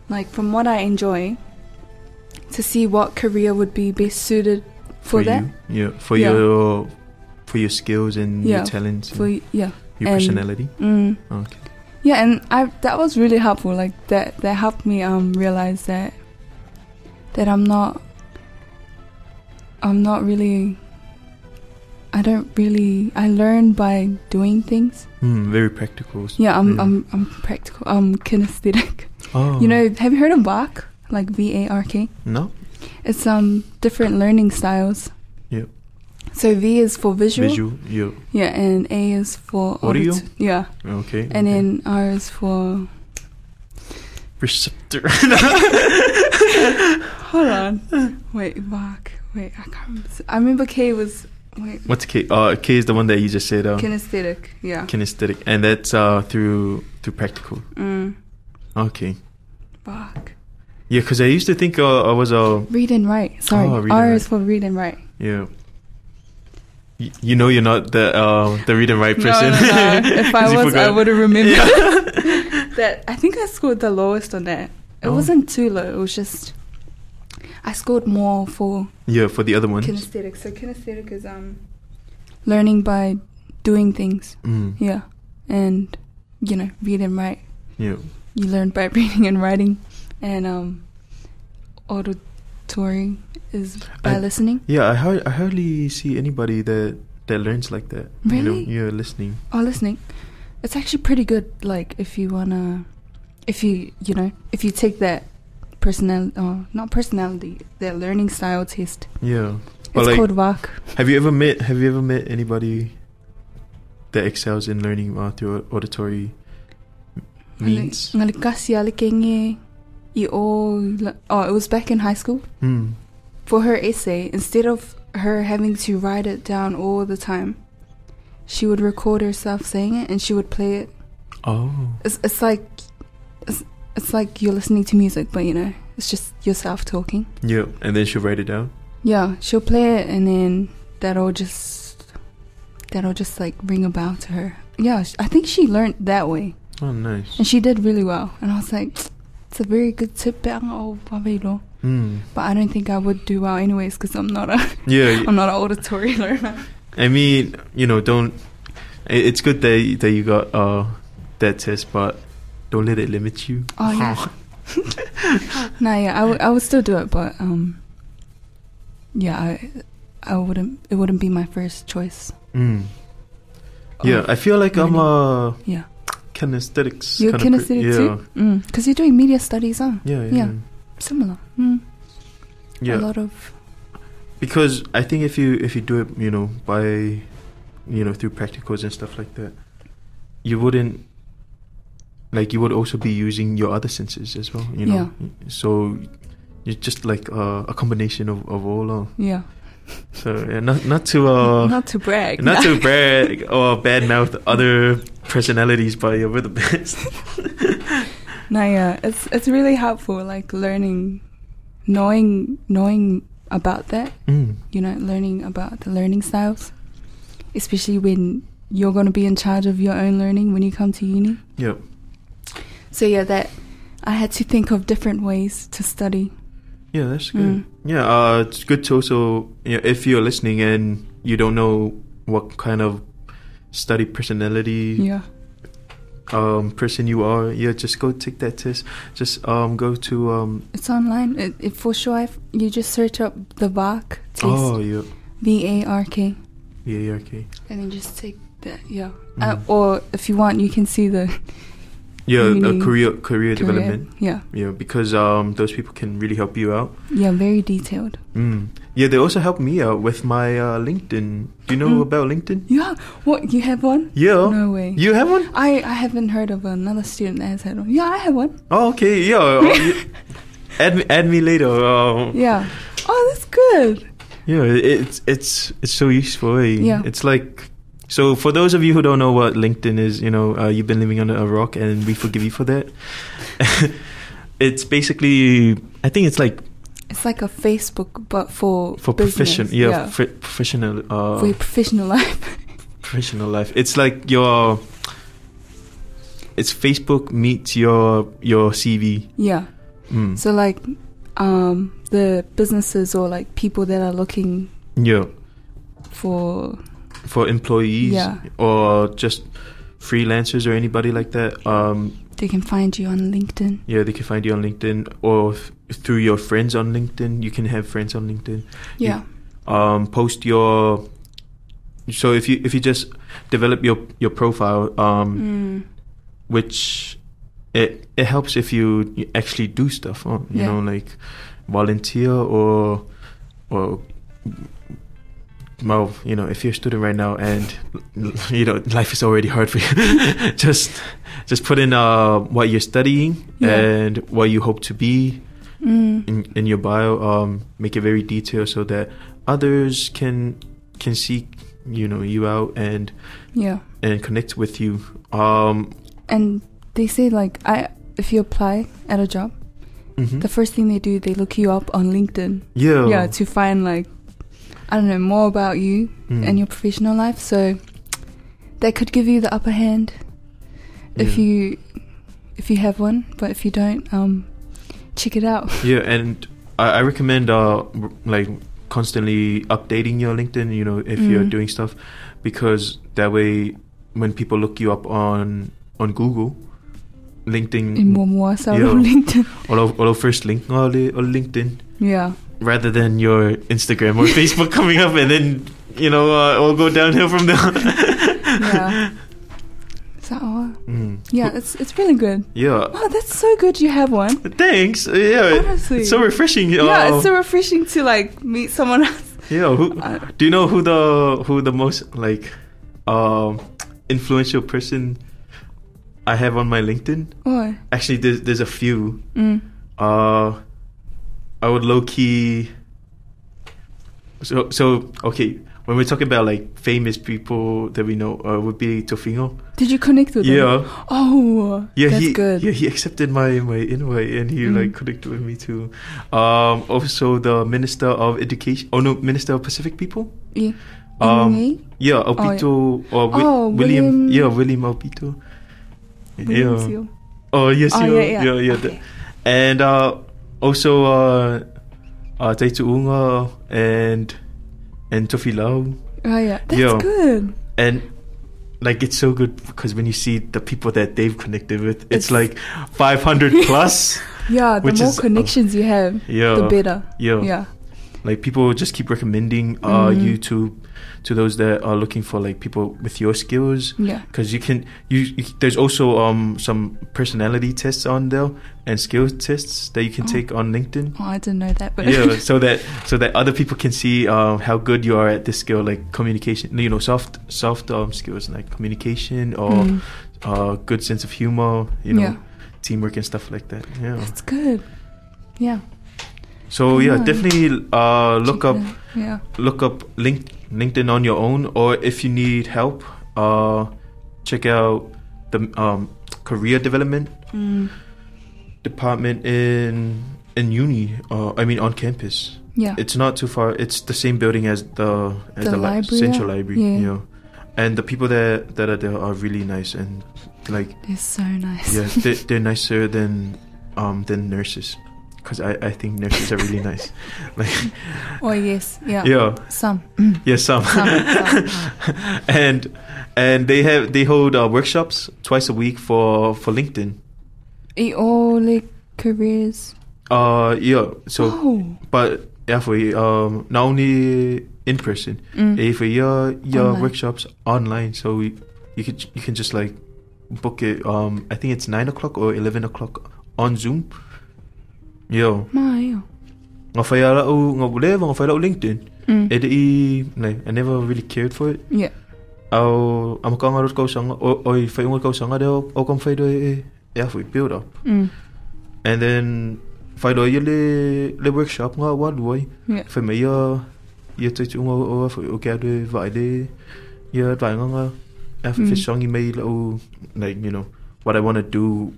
[SPEAKER 5] like from what I enjoy, to see what career would be best suited for, that.
[SPEAKER 2] you? Yeah, for
[SPEAKER 5] Yeah.
[SPEAKER 2] your for your skills and
[SPEAKER 5] Yeah,
[SPEAKER 2] your talents,
[SPEAKER 5] for
[SPEAKER 2] and
[SPEAKER 5] yeah
[SPEAKER 2] your
[SPEAKER 5] and-
[SPEAKER 2] personality.
[SPEAKER 5] mm.
[SPEAKER 2] Okay.
[SPEAKER 5] yeah and i that was really helpful like that that helped me um realize that that I'm not I'm not really I don't really I learn by doing things.
[SPEAKER 2] Mm, very practical.
[SPEAKER 5] Yeah, I'm
[SPEAKER 2] Yeah.
[SPEAKER 5] I'm I'm practical. I'm kinesthetic.
[SPEAKER 2] Mm. Oh.
[SPEAKER 5] You know, have you heard of Bach? Like V A R K?
[SPEAKER 2] No?
[SPEAKER 5] It's um different learning styles.
[SPEAKER 2] Yep.
[SPEAKER 5] So V is for visual.
[SPEAKER 2] Visual. Yeah.
[SPEAKER 5] Yeah, and A is for
[SPEAKER 2] Audio?
[SPEAKER 5] audit- Yeah,
[SPEAKER 2] Okay.
[SPEAKER 5] and
[SPEAKER 2] okay.
[SPEAKER 5] then R is for.
[SPEAKER 2] receptor.
[SPEAKER 5] Hold on. Wait, Bach. Wait, I can't. Remember. I remember K was wait
[SPEAKER 2] What's K? Uh, K is the one that you just said. Uh,
[SPEAKER 5] kinesthetic. Yeah.
[SPEAKER 2] kinesthetic, and that's uh through through practical.
[SPEAKER 5] Mm,
[SPEAKER 2] Okay.
[SPEAKER 5] Bach.
[SPEAKER 2] Yeah, because I used to think uh, I was uh,
[SPEAKER 5] Read and write. Sorry,
[SPEAKER 2] Oh, read and
[SPEAKER 5] R
[SPEAKER 2] write.
[SPEAKER 5] is for read and write.
[SPEAKER 2] Yeah. Y- You know you're not the uh, the read and write
[SPEAKER 5] No,
[SPEAKER 2] person.
[SPEAKER 5] no, no. If
[SPEAKER 2] 'Cause
[SPEAKER 5] I
[SPEAKER 2] you
[SPEAKER 5] was, I
[SPEAKER 2] forgot.
[SPEAKER 5] would have remembered that. I think I scored the lowest on that. It
[SPEAKER 2] Oh.
[SPEAKER 5] wasn't too low. It was just I scored more for
[SPEAKER 2] Yeah, for the other ones.
[SPEAKER 5] kinesthetic. So kinesthetic is um learning by doing things.
[SPEAKER 2] Mm,
[SPEAKER 5] Yeah, and you know, read and write.
[SPEAKER 2] yeah.
[SPEAKER 5] You learn by reading and writing, and um, auditory is by
[SPEAKER 2] I-
[SPEAKER 5] listening.
[SPEAKER 2] Yeah, I, har- I hardly see anybody that that learns like that. You know,
[SPEAKER 5] Really?
[SPEAKER 2] you're listening.
[SPEAKER 5] or Oh, listening it's actually pretty good like if you wanna if you you know if you take that personal or not personality that learning style test
[SPEAKER 2] Yeah.
[SPEAKER 5] it's
[SPEAKER 2] Or like,
[SPEAKER 5] called VAC.
[SPEAKER 2] have you ever met have you ever met anybody that excels in learning uh, through auditory means?
[SPEAKER 5] Ngali- ngali kasi ali kenge i o la- oh it was back in high school
[SPEAKER 2] Mm.
[SPEAKER 5] for her essay instead of her having to write it down all the time she would record herself saying it and she would play it
[SPEAKER 2] Oh.
[SPEAKER 5] it's, it's like it's, it's like you're listening to music but you know it's just yourself talking
[SPEAKER 2] Yeah, and then she'll write it down.
[SPEAKER 5] Yeah, she'll play it, and then that'll just that'll just like ring a bell to her. Yeah, sh- I think she learned that way,
[SPEAKER 2] Oh, nice.
[SPEAKER 5] and she did really well. And I was like, it's a very good tip, but I
[SPEAKER 2] Mm.
[SPEAKER 5] don't think I would do well anyways because I'm not a
[SPEAKER 2] Yeah,
[SPEAKER 5] I'm not an auditory learner.
[SPEAKER 2] I mean, you know, don't. i- It's good that that you got uh that test, but don't let it limit you.
[SPEAKER 5] Oh yeah, nah, yeah, I would I would still do it, but um, yeah, I I wouldn't it wouldn't be my first choice.
[SPEAKER 2] Mm. Yeah,
[SPEAKER 5] of
[SPEAKER 2] I feel like I'm uh
[SPEAKER 5] Oh. Yeah.
[SPEAKER 2] kinesthetics.
[SPEAKER 5] you're
[SPEAKER 2] kinda
[SPEAKER 5] kinesthetic
[SPEAKER 2] yeah.
[SPEAKER 5] too, because you're doing media studies, huh?
[SPEAKER 2] Yeah, yeah, yeah.
[SPEAKER 5] Yeah. Similar. Mm.
[SPEAKER 2] Yeah,
[SPEAKER 5] a lot of
[SPEAKER 2] because I think if you if you do it, you know, by, you know, through practicals and stuff like that, you wouldn't. Like you would also be using your other senses as well, you know. So, it's just like uh, a combination of of all. Uh,
[SPEAKER 5] yeah
[SPEAKER 2] So yeah, not not to uh not,
[SPEAKER 5] not to brag
[SPEAKER 2] to brag or badmouth other personalities, but yeah, we're the best.
[SPEAKER 5] no yeah it's it's really helpful like learning knowing knowing about that
[SPEAKER 2] Mm.
[SPEAKER 5] you know learning about the learning styles especially when you're going to be in charge of your own learning when you come to uni
[SPEAKER 2] Yeah,
[SPEAKER 5] so yeah that i had to think of different ways to study
[SPEAKER 2] yeah, that's good.
[SPEAKER 5] Mm.
[SPEAKER 2] Yeah, uh, it's good to also yeah, if you're listening and you don't know what kind of study personality
[SPEAKER 5] yeah
[SPEAKER 2] um person you are, yeah, just go take that test. Just um go to um
[SPEAKER 5] it's online it, it for sure I've, you just search up the vark test
[SPEAKER 2] oh yeah
[SPEAKER 5] v-a-r-k
[SPEAKER 2] yeah yeah okay
[SPEAKER 5] and then just take that yeah uh,
[SPEAKER 2] Mm.
[SPEAKER 5] or if you want you can see the
[SPEAKER 2] yeah uh,
[SPEAKER 5] Uni-
[SPEAKER 2] career career development
[SPEAKER 5] Correct. Yeah,
[SPEAKER 2] yeah because um those people can really help you out.
[SPEAKER 5] yeah, very detailed.
[SPEAKER 2] Mm. Yeah, they also helped me out with my uh, LinkedIn. Do you know
[SPEAKER 5] Mm.
[SPEAKER 2] about LinkedIn?
[SPEAKER 5] Yeah, what you have one?
[SPEAKER 2] Yeah.
[SPEAKER 5] No way.
[SPEAKER 2] You have one?
[SPEAKER 5] I I haven't heard of another student that has had one. Yeah, I have one.
[SPEAKER 2] Oh, okay. Yeah. uh, you- add me. Add me later. Uh,
[SPEAKER 5] Yeah. Oh, that's good.
[SPEAKER 2] yeah. it- It's it's it's so useful. eh?
[SPEAKER 5] Yeah.
[SPEAKER 2] It's like. So for those of you who don't know what LinkedIn is, you know, uh, you've been living under a rock, and we forgive you for that. it's basically, I think it's like
[SPEAKER 5] It's like a Facebook, but for
[SPEAKER 2] for
[SPEAKER 5] business.
[SPEAKER 2] profession, yeah, fr- professional, uh,
[SPEAKER 5] for your professional life.
[SPEAKER 2] professional life. It's like your it's Facebook meets your your CV.
[SPEAKER 5] yeah.
[SPEAKER 2] Mm.
[SPEAKER 5] So like, um, the businesses or like people that are looking
[SPEAKER 2] yeah,
[SPEAKER 5] for
[SPEAKER 2] for employees
[SPEAKER 5] Yeah.
[SPEAKER 2] or just freelancers or anybody like that. Um,
[SPEAKER 5] They can find you on LinkedIn.
[SPEAKER 2] Yeah, they can find you on LinkedIn or f- through your friends on LinkedIn. You can have friends on LinkedIn.
[SPEAKER 5] Yeah.
[SPEAKER 2] um, post your so if you if you just develop your your profile um,
[SPEAKER 5] Mm.
[SPEAKER 2] which it it helps if you you actually do stuff uh, you
[SPEAKER 5] Yeah.
[SPEAKER 2] know like volunteer or or well you know if you're a student right now and you know life is already hard for you just just put in uh, what you're studying
[SPEAKER 5] Yeah.
[SPEAKER 2] and what you hope to be
[SPEAKER 5] Mm.
[SPEAKER 2] in, in your bio um make it very detailed so that others can can seek you know you out and
[SPEAKER 5] Yeah.
[SPEAKER 2] and connect with you um
[SPEAKER 5] And they say like I if you apply at a job,
[SPEAKER 2] mhm.
[SPEAKER 5] the first thing they do they look you up on LinkedIn.
[SPEAKER 2] yeah
[SPEAKER 5] Yeah, to find like I don't know more about you
[SPEAKER 2] Mm.
[SPEAKER 5] and your professional life. So that could give you the upper hand if
[SPEAKER 2] Yeah.
[SPEAKER 5] you if you have one, but if you don't, um, check it out.
[SPEAKER 2] yeah and I, I recommend uh r- like constantly updating your linkedin you know if you're
[SPEAKER 5] Mm.
[SPEAKER 2] doing stuff because that way when people look you up on on google linkedin
[SPEAKER 5] In more more so on
[SPEAKER 2] Mm. Yeah.
[SPEAKER 5] LinkedIn.
[SPEAKER 2] although, although first link or linkedin
[SPEAKER 5] Yeah,
[SPEAKER 2] rather than your Instagram or Facebook coming up, and then you know uh, we'll go downhill from there.
[SPEAKER 5] yeah. Is that all?
[SPEAKER 2] Mm.
[SPEAKER 5] Yeah, it's it's really good.
[SPEAKER 2] Yeah.
[SPEAKER 5] Wow, that's so good. You have one.
[SPEAKER 2] Thanks. Yeah.
[SPEAKER 5] Honestly.
[SPEAKER 2] It's so refreshing.
[SPEAKER 5] Yeah,
[SPEAKER 2] Uh,
[SPEAKER 5] it's so refreshing to like meet someone else.
[SPEAKER 2] yeah. Who,
[SPEAKER 5] I-
[SPEAKER 2] do you know who the who the most like um, influential person I have on my LinkedIn?
[SPEAKER 5] What?
[SPEAKER 2] Actually, there's there's a few.
[SPEAKER 5] Mm.
[SPEAKER 2] Uh, I would low key. So so okay. When we're talking about like famous people that we know, uh, would be Tofingo.
[SPEAKER 5] Did you connect with
[SPEAKER 2] Yeah.
[SPEAKER 5] them? Oh,
[SPEAKER 2] Yeah,
[SPEAKER 5] that's
[SPEAKER 2] he
[SPEAKER 5] good.
[SPEAKER 2] yeah he accepted my my invite and he
[SPEAKER 5] Mm.
[SPEAKER 2] like connected with me too. Um, also the minister of education. Oh no, minister of Pacific people.
[SPEAKER 5] Yeah.
[SPEAKER 2] Um,
[SPEAKER 5] Oh, Anyway,
[SPEAKER 2] yeah, Opito or Wi- William,
[SPEAKER 5] Oh, William-
[SPEAKER 2] Yeah, William Opito.
[SPEAKER 5] William
[SPEAKER 2] yeah.
[SPEAKER 5] Seal.
[SPEAKER 2] Oh yes,
[SPEAKER 5] Oh,
[SPEAKER 2] yeah,
[SPEAKER 5] yeah, yeah.
[SPEAKER 2] yeah, yeah.
[SPEAKER 5] Okay.
[SPEAKER 2] that- And uh, also uh, uh, Taitu Unga and and Tofi Lau
[SPEAKER 5] Oh yeah, that's
[SPEAKER 2] Yeah.
[SPEAKER 5] good.
[SPEAKER 2] and like it's so good because when you see the people that they've connected with, it's,
[SPEAKER 5] It's-
[SPEAKER 2] like 500 plus.
[SPEAKER 5] Yeah, the
[SPEAKER 2] Which
[SPEAKER 5] more
[SPEAKER 2] is- uh,
[SPEAKER 5] connections you have,
[SPEAKER 2] Yeah.
[SPEAKER 5] the better.
[SPEAKER 2] Yeah.
[SPEAKER 5] Yeah.
[SPEAKER 2] Like people just keep recommending uh,
[SPEAKER 5] Mhm.
[SPEAKER 2] YouTube to those that are looking for like people with your skills.
[SPEAKER 5] Yeah.
[SPEAKER 2] Because you can, you, you there's also um some personality tests on there and skill tests that you can
[SPEAKER 5] Oh.
[SPEAKER 2] take on LinkedIn.
[SPEAKER 5] Oh, I didn't know that, but
[SPEAKER 2] yeah, so that so that other people can see um, how good you are at this skill, like communication, you know, soft soft um, skills like communication or
[SPEAKER 5] Mm.
[SPEAKER 2] uh, good sense of humor, you know,
[SPEAKER 5] Yeah.
[SPEAKER 2] teamwork and stuff like that. Yeah.
[SPEAKER 5] that's good. Yeah.
[SPEAKER 2] So yeah,
[SPEAKER 5] Yeah.
[SPEAKER 2] definitely uh, look
[SPEAKER 5] check
[SPEAKER 2] up
[SPEAKER 5] it out. Yeah.
[SPEAKER 2] look up link, LinkedIn on your own, or if you need help, uh, check out the um, career development
[SPEAKER 5] Mm.
[SPEAKER 2] department in in uni. Uh, I mean on campus.
[SPEAKER 5] Yeah.
[SPEAKER 2] It's not too far. It's the same building as the as
[SPEAKER 5] The
[SPEAKER 2] the, li-
[SPEAKER 5] library,
[SPEAKER 2] central
[SPEAKER 5] yeah.
[SPEAKER 2] library.
[SPEAKER 5] Yeah.
[SPEAKER 2] Yeah. And the people that that are there are really nice and like
[SPEAKER 5] They're so nice.
[SPEAKER 2] yeah, they, they're nicer than um than nurses, because I, I think nurses are really nice. Like
[SPEAKER 5] oh yes. Yeah.
[SPEAKER 2] yeah,
[SPEAKER 5] Some.
[SPEAKER 2] yeah, some.
[SPEAKER 5] Some. some.
[SPEAKER 2] and and they have they hold uh, workshops twice a week for for LinkedIn.
[SPEAKER 5] E- all like careers.
[SPEAKER 2] Uh yeah, so
[SPEAKER 5] oh.
[SPEAKER 2] but yeah for um not only in person,
[SPEAKER 5] Mm.
[SPEAKER 2] eh, for your your
[SPEAKER 5] Online.
[SPEAKER 2] workshops online, so you, you could you can just like book it. Um, I think it's nine o'clock or eleven o'clock on Zoom. Yeah.
[SPEAKER 5] My. oh.
[SPEAKER 2] ngā whai ara au, ngā lewa, ngā whai au LinkedIn.
[SPEAKER 5] Mm.
[SPEAKER 2] E te i, like, I never really cared for it.
[SPEAKER 5] Yeah.
[SPEAKER 2] Au, amakanga rot kausanga, o, oi, whai unga kausanga reo, au kam whai roi e, e awhi, build up.
[SPEAKER 5] Mm.
[SPEAKER 2] And then, whai roi i le, le workshop ngā waduai,
[SPEAKER 5] Yeah.
[SPEAKER 2] whai mai a, i a teitu unga o awhi, o kia roi vai le, i a vai nganga, e awhi,
[SPEAKER 5] Mm.
[SPEAKER 2] whesangi mai lau, like, oh, you know, what I want to do,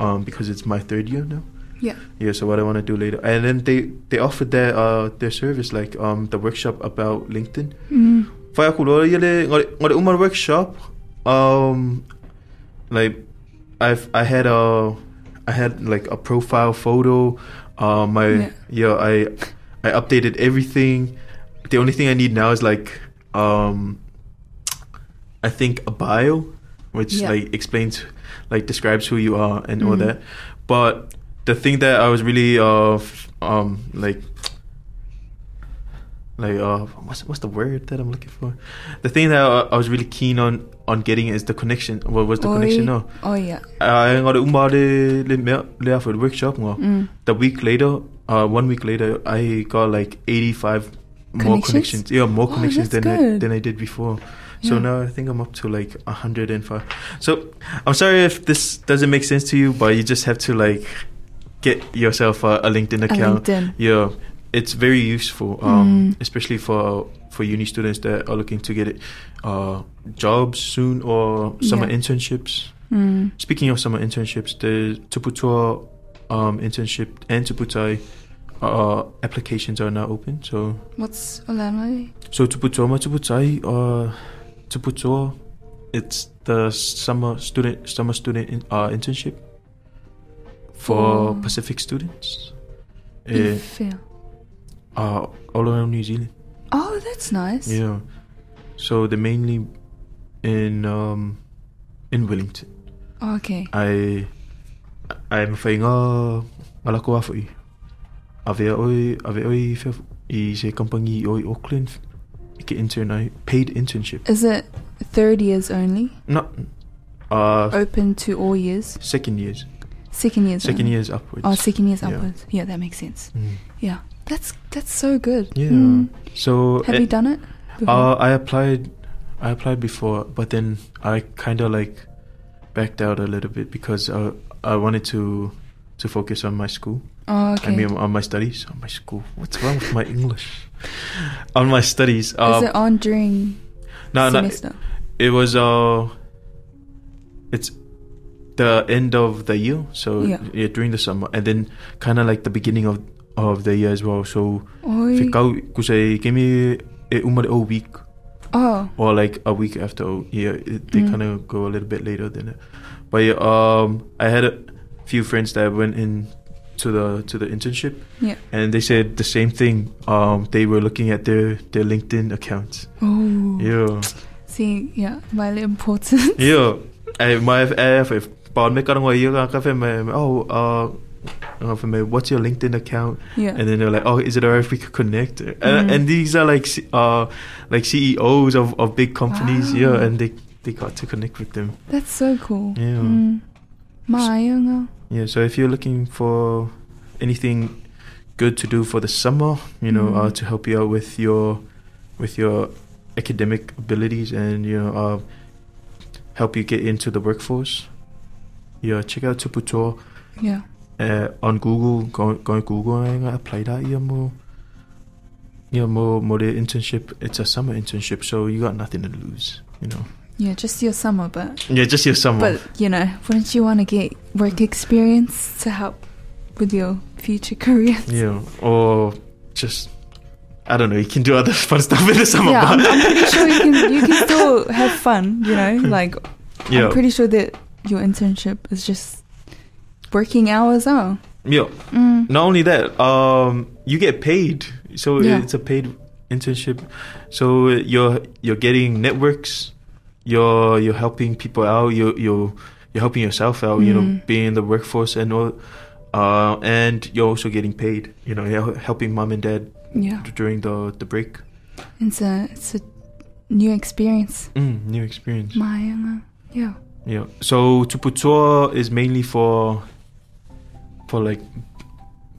[SPEAKER 2] um, because it's my third year now.
[SPEAKER 5] Yeah.
[SPEAKER 2] Yeah, so what I want to do later, and then they they offered their uh their service like um the workshop about LinkedIn.
[SPEAKER 5] Mm.
[SPEAKER 2] Whai aku roa i le ngore ngore umar workshop, um, like I've I had a I had like a profile photo, uh my
[SPEAKER 5] Yeah.
[SPEAKER 2] yeah, I I updated everything. The only thing I need now is like um I think a bio which
[SPEAKER 5] Yeah.
[SPEAKER 2] like explains, like describes who you are and all
[SPEAKER 5] Mhm.
[SPEAKER 2] that. But the thing that I was really uh f- um like like uh what's what's the word that I'm looking for? The thing that I, I was really keen on on getting is the connection. What was the connection? No, Uh,
[SPEAKER 5] Oh, yeah.
[SPEAKER 2] I got umba le le le for the workshop. No.
[SPEAKER 5] Mm.
[SPEAKER 2] The week later, uh, one week later, I got like 85 more
[SPEAKER 5] Connections?
[SPEAKER 2] connections. Yeah, more
[SPEAKER 5] Oh,
[SPEAKER 2] connections
[SPEAKER 5] that's
[SPEAKER 2] than I,
[SPEAKER 5] good.
[SPEAKER 2] than I did before. So
[SPEAKER 5] Yeah.
[SPEAKER 2] now I think I'm up to like 105. So I'm sorry if this doesn't make sense to you, but you just have to like get yourself a, a LinkedIn
[SPEAKER 5] A
[SPEAKER 2] account.
[SPEAKER 5] LinkedIn.
[SPEAKER 2] Yeah, it's very useful, um,
[SPEAKER 5] Mm.
[SPEAKER 2] especially for for uni students that are looking to get uh, jobs soon or summer
[SPEAKER 5] Yeah.
[SPEAKER 2] internships.
[SPEAKER 5] Mm.
[SPEAKER 2] Speaking of summer internships, the Tuputua um, internship and Tuputai uh, applications are now open. So,
[SPEAKER 5] What's Olanoy?
[SPEAKER 2] so Tuputua ma Tuputai, uh, Tuputua, it's the summer student summer student in, uh, internship for
[SPEAKER 5] Mm.
[SPEAKER 2] Pacific students, uh,
[SPEAKER 5] Ifea.
[SPEAKER 2] uh, all around New Zealand.
[SPEAKER 5] Oh, that's nice.
[SPEAKER 2] Yeah, so they're mainly in um, in Wellington.
[SPEAKER 5] Oh, Okay.
[SPEAKER 2] ai ai mawhainga malako awhi. Awea oi, awea oi whia, i se kampangi oi Auckland i ke intern ai, paid internship.
[SPEAKER 5] Is it third years only?
[SPEAKER 2] No, uh,
[SPEAKER 5] Open to all years?
[SPEAKER 2] second years,
[SPEAKER 5] Second years.
[SPEAKER 2] second
[SPEAKER 5] only.
[SPEAKER 2] years upwards.
[SPEAKER 5] Oh, second years
[SPEAKER 2] Yeah.
[SPEAKER 5] upwards. Yeah, that makes sense.
[SPEAKER 2] Mm.
[SPEAKER 5] Yeah, that's that's so good.
[SPEAKER 2] Yeah.
[SPEAKER 5] Mm.
[SPEAKER 2] So
[SPEAKER 5] Have
[SPEAKER 2] eh,
[SPEAKER 5] you done it?
[SPEAKER 2] Uh, I applied, I applied before, but then I kind of like backed out a little bit because I I wanted to to focus on my school.
[SPEAKER 5] oh, okay.
[SPEAKER 2] I mean, on my studies, on my school. What's wrong with my English? on my studies. Uh,
[SPEAKER 5] Is it on during
[SPEAKER 2] no, no,
[SPEAKER 5] semester?
[SPEAKER 2] it was. Uh, it's the end of the year, so
[SPEAKER 5] Yeah.
[SPEAKER 2] yeah, during the summer, and then kind of like the beginning of of the year as well. So,
[SPEAKER 5] Oi.
[SPEAKER 2] fikau kusai kemi e umare o week
[SPEAKER 5] Oh,
[SPEAKER 2] or like a week after. oh, Yeah, it, they
[SPEAKER 5] Mm.
[SPEAKER 2] kind of go a little bit later than it. But yeah, um, I had a few friends that went in to the to the internship.
[SPEAKER 5] Yeah.
[SPEAKER 2] And they said the same thing. Um, they were looking at their their LinkedIn accounts.
[SPEAKER 5] oh.
[SPEAKER 2] Yeah,
[SPEAKER 5] See, yeah, my importance.
[SPEAKER 2] yeah. I my if if but me karang wai yung kafe me oh uh. uh, For me, what's your LinkedIn account?
[SPEAKER 5] Yeah.
[SPEAKER 2] And then they're like, "Oh, is it alright if we could connect?" And,
[SPEAKER 5] Mm.
[SPEAKER 2] and these are like, C- uh, like CEOs of, of big companies,
[SPEAKER 5] Wow.
[SPEAKER 2] yeah. And they they got to connect with them.
[SPEAKER 5] That's so cool.
[SPEAKER 2] Yeah.
[SPEAKER 5] Mm. Maayunga.
[SPEAKER 2] Yeah, so if you're looking for anything good to do for the summer, you know, uh,
[SPEAKER 5] Mhm.
[SPEAKER 2] to help you out with your with your academic abilities and you know uh, help you get into the workforce, yeah, check out Tuputo
[SPEAKER 5] Yeah.
[SPEAKER 2] uh, on Google. Go go on Google and apply that. Yeah, more. Yeah, more more the internship. It's a summer internship, so you got nothing to lose. You know.
[SPEAKER 5] Yeah, just your summer, but
[SPEAKER 2] Yeah, just your summer.
[SPEAKER 5] but you know, wouldn't you want to get work experience to help with your future career?
[SPEAKER 2] Yeah, or just I don't know. You can do other fun stuff in the summer.
[SPEAKER 5] yeah, I'm,
[SPEAKER 2] but- Hmm.
[SPEAKER 5] I'm pretty sure you can you can still have fun, you know. Like
[SPEAKER 2] yeah,
[SPEAKER 5] I'm pretty sure that your internship is just working hours out.
[SPEAKER 2] yeah.
[SPEAKER 5] Mm.
[SPEAKER 2] Not only that, um, you get paid, so
[SPEAKER 5] Yeah.
[SPEAKER 2] it's a paid internship. So you're you're getting networks. You're you're helping people out. You're you're you're helping yourself out. You know,
[SPEAKER 5] Mhm.
[SPEAKER 2] being in the workforce and all. Uh, and you're also getting paid. You know, you're helping mom and dad
[SPEAKER 5] Yeah,
[SPEAKER 2] during the the break.
[SPEAKER 5] it's a it's a new experience.
[SPEAKER 2] Mm, new experience.
[SPEAKER 5] My uh, yeah,
[SPEAKER 2] Yeah. So Tuputua is mainly for for like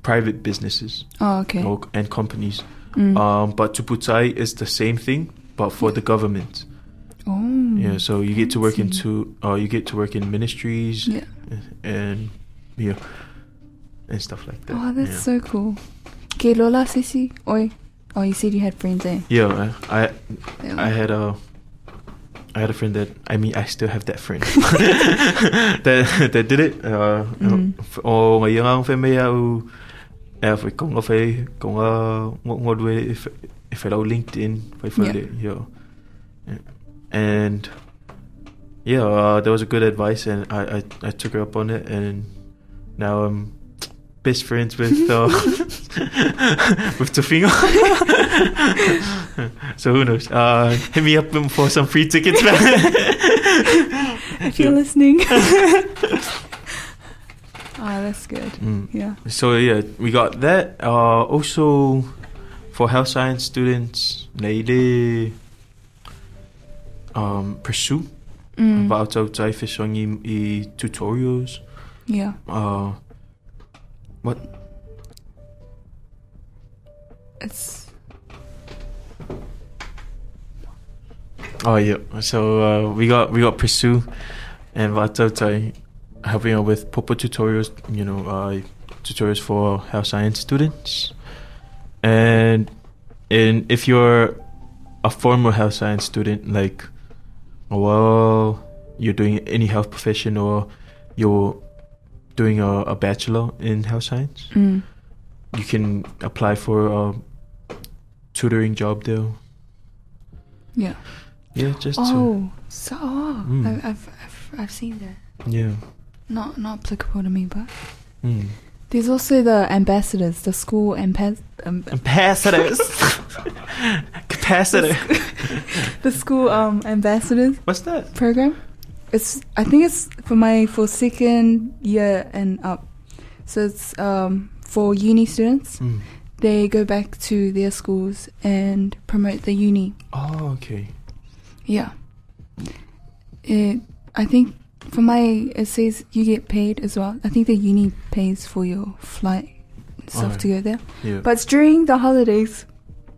[SPEAKER 2] private businesses
[SPEAKER 5] oh okay,
[SPEAKER 2] or, and companies.
[SPEAKER 5] Mm.
[SPEAKER 2] Um, but Tuputai is the same thing, but for the government.
[SPEAKER 5] oh
[SPEAKER 2] Yeah. So you get to work
[SPEAKER 5] fancy.
[SPEAKER 2] into uh, you get to work in ministries
[SPEAKER 5] yeah.
[SPEAKER 2] and yeah and stuff like that.
[SPEAKER 5] Oh, that's
[SPEAKER 2] yeah.
[SPEAKER 5] so cool. Okay, Lola, Sissy, oi. Oh, you said you had friends, eh?
[SPEAKER 2] Yeah. I
[SPEAKER 5] Yeah.
[SPEAKER 2] I had a I had a friend that I mean I still have that friend that that did it. Uh,
[SPEAKER 5] Mm.
[SPEAKER 2] O ngai anga ang whemea au e a whai konga whai konga ngodue e whai rau LinkedIn whai whai
[SPEAKER 5] Yeah.
[SPEAKER 2] re. Yeah. And yeah, uh, that was a good advice and I, I, I took her up on it and now I'm best friends with uh, with the finger. so who knows? Uh, hit me up for some free tickets, man.
[SPEAKER 5] If you're listening. Ah, that's good.
[SPEAKER 2] Mm.
[SPEAKER 5] Yeah.
[SPEAKER 2] So yeah, we got that. Uh, also, for health science students, they um, pursue
[SPEAKER 5] Mm.
[SPEAKER 2] about mm. outside fishing i e, tutorials.
[SPEAKER 5] yeah.
[SPEAKER 2] Uh,
[SPEAKER 5] It's
[SPEAKER 2] oh yeah. So uh, we got we got pursue and about outside helping out with proper tutorials. You know, uh, tutorials for health science students. And and if you're a former health science student, like, well, you're doing any health profession or you're doing a, a bachelor in health science,
[SPEAKER 5] mm.
[SPEAKER 2] you can apply for a tutoring job there.
[SPEAKER 5] Yeah.
[SPEAKER 2] Yeah, just to,
[SPEAKER 5] Oh, so oh,
[SPEAKER 2] Mm.
[SPEAKER 5] I, I've, I've I've seen that.
[SPEAKER 2] yeah.
[SPEAKER 5] Not not applicable to me, but
[SPEAKER 2] Mm.
[SPEAKER 5] there's also the ambassadors, the school ambas- um,
[SPEAKER 2] Capacitors. Capacitor.
[SPEAKER 5] the school um ambassadors
[SPEAKER 2] What's that?
[SPEAKER 5] program. It's I think it's for my for second year and up. So it's um for uni students.
[SPEAKER 2] Mm.
[SPEAKER 5] They go back to their schools and promote the uni.
[SPEAKER 2] Oh, okay.
[SPEAKER 5] Yeah. It, I think for my it says you get paid as well. I think the uni pays for your flight and stuff
[SPEAKER 2] Oh.
[SPEAKER 5] to go there.
[SPEAKER 2] Yeah.
[SPEAKER 5] But it's during the holidays.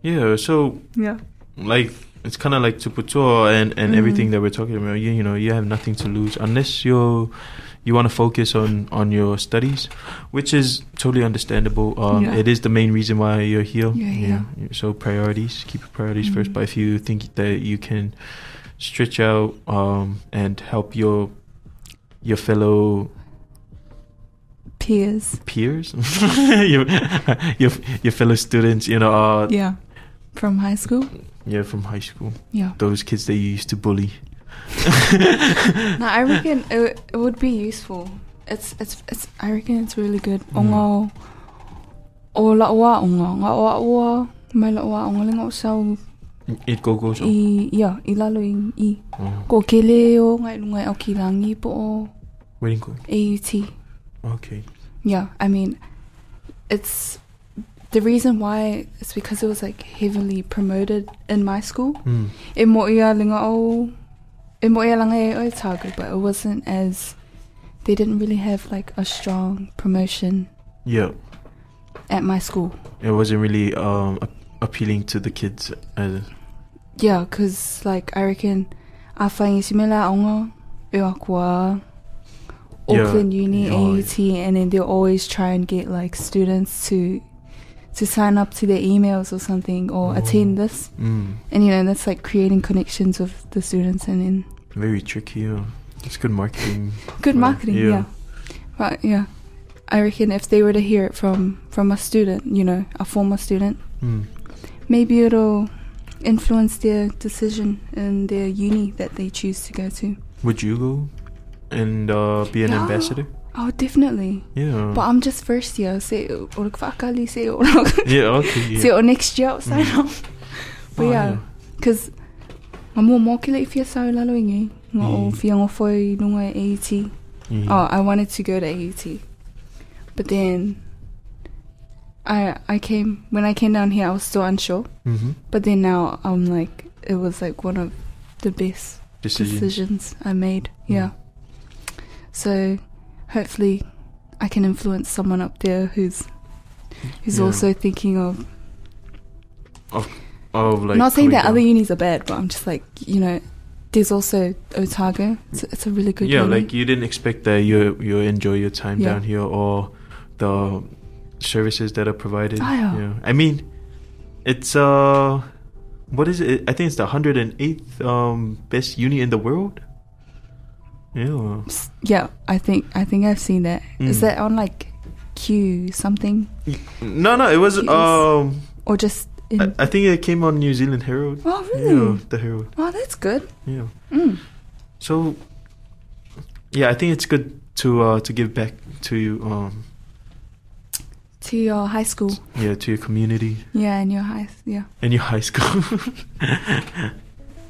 [SPEAKER 2] yeah, so
[SPEAKER 5] Yeah.
[SPEAKER 2] like it's kind of like Tuputo and and
[SPEAKER 5] Mm.
[SPEAKER 2] everything that we're talking about. You, you know, you have nothing to lose unless you're you want to focus on on your studies, which is totally understandable. Um,
[SPEAKER 5] Yeah.
[SPEAKER 2] It is the main reason why you're here.
[SPEAKER 5] Yeah,
[SPEAKER 2] So priorities, keep your priorities first.
[SPEAKER 5] Mm.
[SPEAKER 2] But if you think that you can stretch out um, and help your your fellow
[SPEAKER 5] Peers.
[SPEAKER 2] peers, your, your your fellow students, you know, uh, yeah.
[SPEAKER 5] Yeah. From high school.
[SPEAKER 2] from high school,
[SPEAKER 5] Yeah.
[SPEAKER 2] those kids that you used to bully.
[SPEAKER 5] No, I reckon it, w- it would be useful. It's it's it's. I reckon it's really good.
[SPEAKER 2] Mm.
[SPEAKER 5] Ongo. O lawa ongo. Lawa wa. Mai lawa ongo lengo sau
[SPEAKER 2] It go goes on.
[SPEAKER 5] i yeah i lalo i i.
[SPEAKER 2] Oh,
[SPEAKER 5] Ko kele o ngai lungai au kilangi po o
[SPEAKER 2] waiting go.
[SPEAKER 5] AUT.
[SPEAKER 2] Okay.
[SPEAKER 5] Yeah, I mean, it's the reason why it's because it was like heavily promoted in my school.
[SPEAKER 2] Mm.
[SPEAKER 5] E mo ia linga o, e mo ia langa e o e tagu, but it wasn't as they didn't really have like a strong promotion
[SPEAKER 2] Yeah,
[SPEAKER 5] at my school.
[SPEAKER 2] it wasn't really um ap- appealing to the kids. uh, As,
[SPEAKER 5] Yeah, cause like I reckon, afangi simela ongo e akua.
[SPEAKER 2] Yeah.
[SPEAKER 5] Auckland Uni,
[SPEAKER 2] Oh, yeah.
[SPEAKER 5] AUT, and then they'll always try and get like students to to sign up to their emails or something or
[SPEAKER 2] Oh.
[SPEAKER 5] attend this.
[SPEAKER 2] mm,
[SPEAKER 5] And you know, that's like creating connections with the students and then
[SPEAKER 2] very tricky. Yeah. It's good marketing.
[SPEAKER 5] good
[SPEAKER 2] Right,
[SPEAKER 5] marketing,
[SPEAKER 2] yeah.
[SPEAKER 5] yeah. Right, yeah. I reckon if they were to hear it from from a student, you know, a former student,
[SPEAKER 2] Mm.
[SPEAKER 5] maybe it'll influence their decision in their uni that they choose to go to.
[SPEAKER 2] Would you go and uh, be an
[SPEAKER 5] Yeah.
[SPEAKER 2] ambassador?
[SPEAKER 5] Oh, definitely.
[SPEAKER 2] Yeah.
[SPEAKER 5] But I'm just first year, say or fakali say or
[SPEAKER 2] yeah. Okay. Yeah. Hmm.
[SPEAKER 5] See, or next year, sign up. But
[SPEAKER 2] Oh,
[SPEAKER 5] yeah, because I'm more mokile if you're so lalo ingi.
[SPEAKER 2] Mm.
[SPEAKER 5] Mm. Fiang foi lunga AET.
[SPEAKER 2] yeah. Yeah.
[SPEAKER 5] Oh, I wanted to go to AET, but then I I came when I came down here. I was still unsure,
[SPEAKER 2] Mm-hmm.
[SPEAKER 5] but then now I'm like it was like one of the best
[SPEAKER 2] Decision. Mm.
[SPEAKER 5] decisions I made. Yeah. So hopefully I can influence someone up there who's who's
[SPEAKER 2] Yeah.
[SPEAKER 5] also thinking of
[SPEAKER 2] Of like.
[SPEAKER 5] not saying
[SPEAKER 2] going
[SPEAKER 5] that
[SPEAKER 2] down.
[SPEAKER 5] other unis are bad, but I'm just like, you know, there's also Otago. It's, it's a really good
[SPEAKER 2] yeah,
[SPEAKER 5] uni.
[SPEAKER 2] like you didn't expect that you you enjoy your time
[SPEAKER 5] Yeah.
[SPEAKER 2] down here or the services that are provided.
[SPEAKER 5] Ah, yeah.
[SPEAKER 2] I mean, it's uh, what is it? I think it's the hundred and eighth um best uni in the world. Yeah.
[SPEAKER 5] S- yeah, I think I think I've seen that. Is
[SPEAKER 2] Mm.
[SPEAKER 5] that on like Q something
[SPEAKER 2] No, no, it was
[SPEAKER 5] Jeez.
[SPEAKER 2] um.
[SPEAKER 5] or just? In,
[SPEAKER 2] I, I think it came on New Zealand Herald.
[SPEAKER 5] oh really?
[SPEAKER 2] Yeah, the Herald.
[SPEAKER 5] Oh, that's good.
[SPEAKER 2] Yeah.
[SPEAKER 5] Mm.
[SPEAKER 2] So, yeah, I think it's good to uh to give back to um
[SPEAKER 5] to your high school.
[SPEAKER 2] yeah, to your community
[SPEAKER 5] Yeah, and your high yeah.
[SPEAKER 2] and your high school,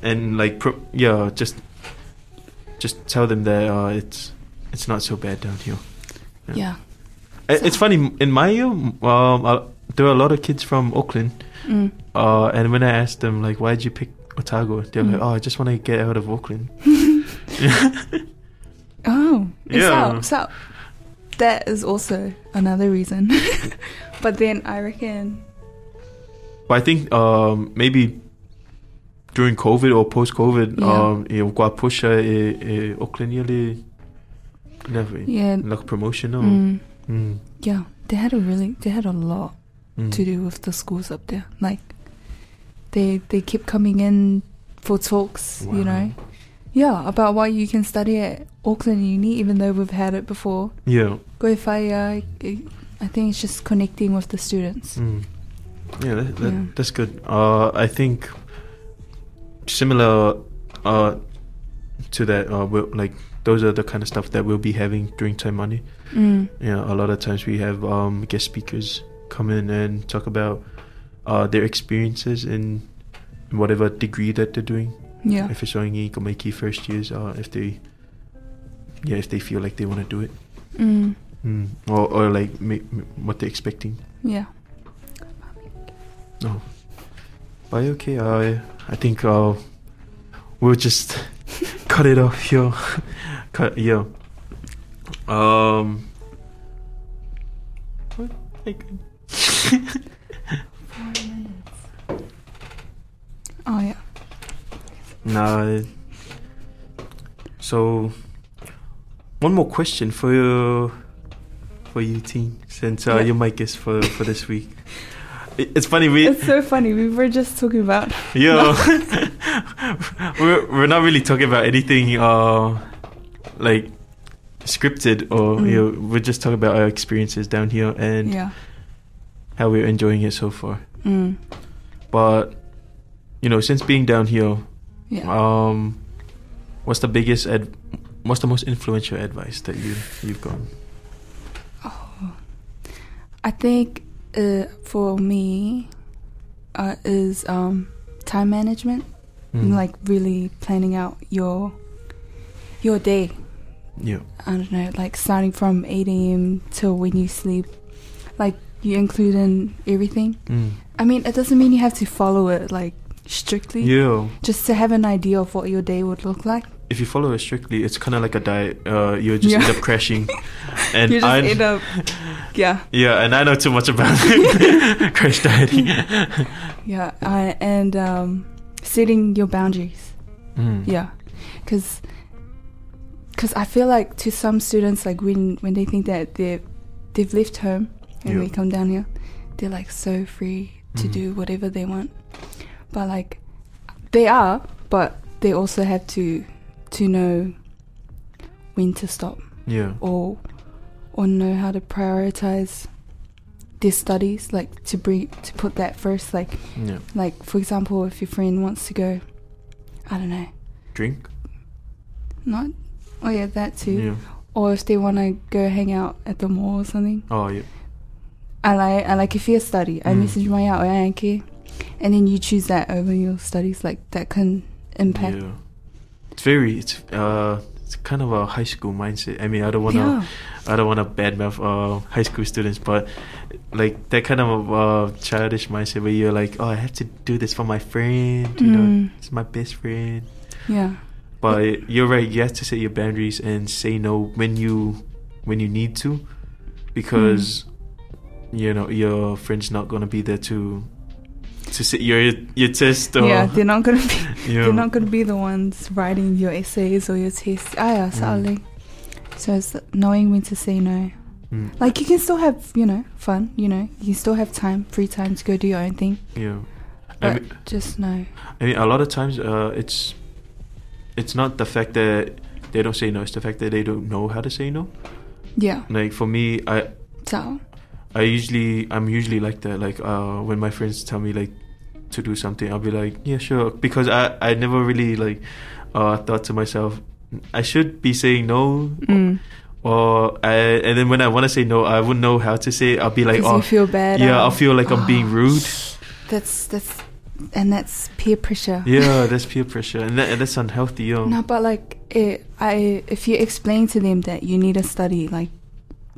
[SPEAKER 2] and like pro- yeah, just just tell them that uh, it's it's not so bad down here.
[SPEAKER 5] Yeah.
[SPEAKER 2] Yeah. I- It's funny in my year, um, I, there are a lot of kids from Auckland.
[SPEAKER 5] Mm.
[SPEAKER 2] Uh, and when I asked them, like, why'd you pick Otago? They're like,
[SPEAKER 5] Mm.
[SPEAKER 2] oh, I just want to get out of Auckland.
[SPEAKER 5] Oh.
[SPEAKER 2] Yeah.
[SPEAKER 5] So, so that is also another reason. but then I reckon
[SPEAKER 2] But I think um, maybe during COVID or post COVID,
[SPEAKER 5] Yeah.
[SPEAKER 2] um, e o kua pusha e, e Auckland ia le never
[SPEAKER 5] yeah.
[SPEAKER 2] like promotional. Mm.
[SPEAKER 5] Mm,
[SPEAKER 2] Mm.
[SPEAKER 5] yeah. They had a really they had a lot
[SPEAKER 2] Mm.
[SPEAKER 5] to do with the schools up there. Like they they kept coming in for talks, you know. Yeah, about why you can study at Auckland Uni even though we've had it before.
[SPEAKER 2] Yeah.
[SPEAKER 5] Go if I uh, I think it's just connecting with the students.
[SPEAKER 2] Mm. Yeah, that, that,
[SPEAKER 5] Yeah.
[SPEAKER 2] that's good. Uh, I think similar uh, to that, uh, we'll, like those are the kind of stuff that we'll be having during Time Money.
[SPEAKER 5] Mm.
[SPEAKER 2] Yeah, a lot of times we have um, guest speakers come in and talk about uh, their experiences in whatever degree that they're doing.
[SPEAKER 5] Yeah.
[SPEAKER 2] If it's only or make first years, uh, if they, yeah, if they feel like they want to do it,
[SPEAKER 5] Mm.
[SPEAKER 2] mm. or or like ma- ma- what they're expecting.
[SPEAKER 5] Yeah.
[SPEAKER 2] But okay, I I think uh, we'll just cut it off here. cut yeah. Um. What? Like,
[SPEAKER 5] Oh yeah.
[SPEAKER 2] Nah. So, one more question for you, for you, team, since uh,
[SPEAKER 5] Yeah.
[SPEAKER 2] you're my guest for, for this week. It- It's funny, we
[SPEAKER 5] It's so funny. We were just talking about
[SPEAKER 2] yo, we're we're not really talking about anything uh like scripted or
[SPEAKER 5] Mm.
[SPEAKER 2] you know, we're just talking about our experiences down here and
[SPEAKER 5] yeah.
[SPEAKER 2] how we're enjoying it so far.
[SPEAKER 5] Mm.
[SPEAKER 2] But you know, since being down here,
[SPEAKER 5] Yeah.
[SPEAKER 2] Um, what's the biggest ad? What's the most influential advice that you you've gotten?
[SPEAKER 5] I think uh, for me uh, is um, time management,
[SPEAKER 2] Mm.
[SPEAKER 5] like really planning out your your day.
[SPEAKER 2] yeah,
[SPEAKER 5] I don't know, like starting from 8 a.m. till when you sleep. Like you include in everything.
[SPEAKER 2] mm.
[SPEAKER 5] I mean, it doesn't mean you have to follow it like strictly.
[SPEAKER 2] yeah.
[SPEAKER 5] Just to have an idea of what your day would look like.
[SPEAKER 2] If you follow it strictly, it's kind of like a diet. Uh, you just
[SPEAKER 5] Yeah.
[SPEAKER 2] end up crashing, and
[SPEAKER 5] you just
[SPEAKER 2] I
[SPEAKER 5] end up, yeah,
[SPEAKER 2] yeah, and I know too much about crash dieting.
[SPEAKER 5] yeah, I, and um, setting your boundaries.
[SPEAKER 2] Mm.
[SPEAKER 5] Yeah, because I feel like to some students, like when when they think that they they've left home and
[SPEAKER 2] Yeah.
[SPEAKER 5] we come down here, they're like so free to
[SPEAKER 2] Mhm.
[SPEAKER 5] do whatever they want. But like they are, but they also have to to know when to stop
[SPEAKER 2] yeah,
[SPEAKER 5] or or know how to prioritize their studies, like to bring to put that first. Like
[SPEAKER 2] yeah.
[SPEAKER 5] like for example, if your friend wants to go, I don't know,
[SPEAKER 2] Drink.
[SPEAKER 5] not oh yeah that too,
[SPEAKER 2] Yeah.
[SPEAKER 5] or if they want to go hang out at the mall or something.
[SPEAKER 2] Oh yeah.
[SPEAKER 5] I like I like if you study, I
[SPEAKER 2] Mm.
[SPEAKER 5] message my out, I don't care, and then you choose that over your studies. Like that can impact.
[SPEAKER 2] Yeah. It's very. It's uh. It's kind of a high school mindset. I mean, I don't want to. I don't want to badmouth uh, high school students, but like that kind of uh, childish mindset where you're like, oh, I have to do this for my friend, you know,
[SPEAKER 5] Mm.
[SPEAKER 2] it's my best friend.
[SPEAKER 5] yeah,
[SPEAKER 2] But you're right, you have to set your boundaries and say no when you when you need to, because you know your friend's not gonna be there to to sit your your test
[SPEAKER 5] yeah,
[SPEAKER 2] or
[SPEAKER 5] yeah. They're not gonna be.
[SPEAKER 2] you know.
[SPEAKER 5] They're not going to be the ones writing your essays or your tests. Ah,
[SPEAKER 2] Mm.
[SPEAKER 5] yeah, sadly. So it's knowing when to say no.
[SPEAKER 2] Mm,
[SPEAKER 5] Like, you can still have, you know, fun, you know, you still have time, free time to go do your own thing.
[SPEAKER 2] yeah. I
[SPEAKER 5] But
[SPEAKER 2] mean-
[SPEAKER 5] just no.
[SPEAKER 2] I mean, a lot of times, uh, it's it's not the fact that they don't say no; it's the fact that they don't know how to say no.
[SPEAKER 5] Yeah.
[SPEAKER 2] Like for me, I
[SPEAKER 5] So,
[SPEAKER 2] I usually I'm usually like that. Like uh, when my friends tell me like to do something, I'll be like, yeah, sure, because I I never really like uh, thought to myself I should be saying no,
[SPEAKER 5] mm,
[SPEAKER 2] or I and, and then when I want to say no, I wouldn't know how to say. It. I'll be like,
[SPEAKER 5] 'Cause you
[SPEAKER 2] oh,
[SPEAKER 5] feel bad.
[SPEAKER 2] yeah,
[SPEAKER 5] um,
[SPEAKER 2] I feel like I'm being rude.
[SPEAKER 5] That's that's, and that's peer pressure.
[SPEAKER 2] Yeah, that's peer pressure, and, that, and that's unhealthy. Yo.
[SPEAKER 5] No, but like, eh, I if you explain to them that you need a study, like,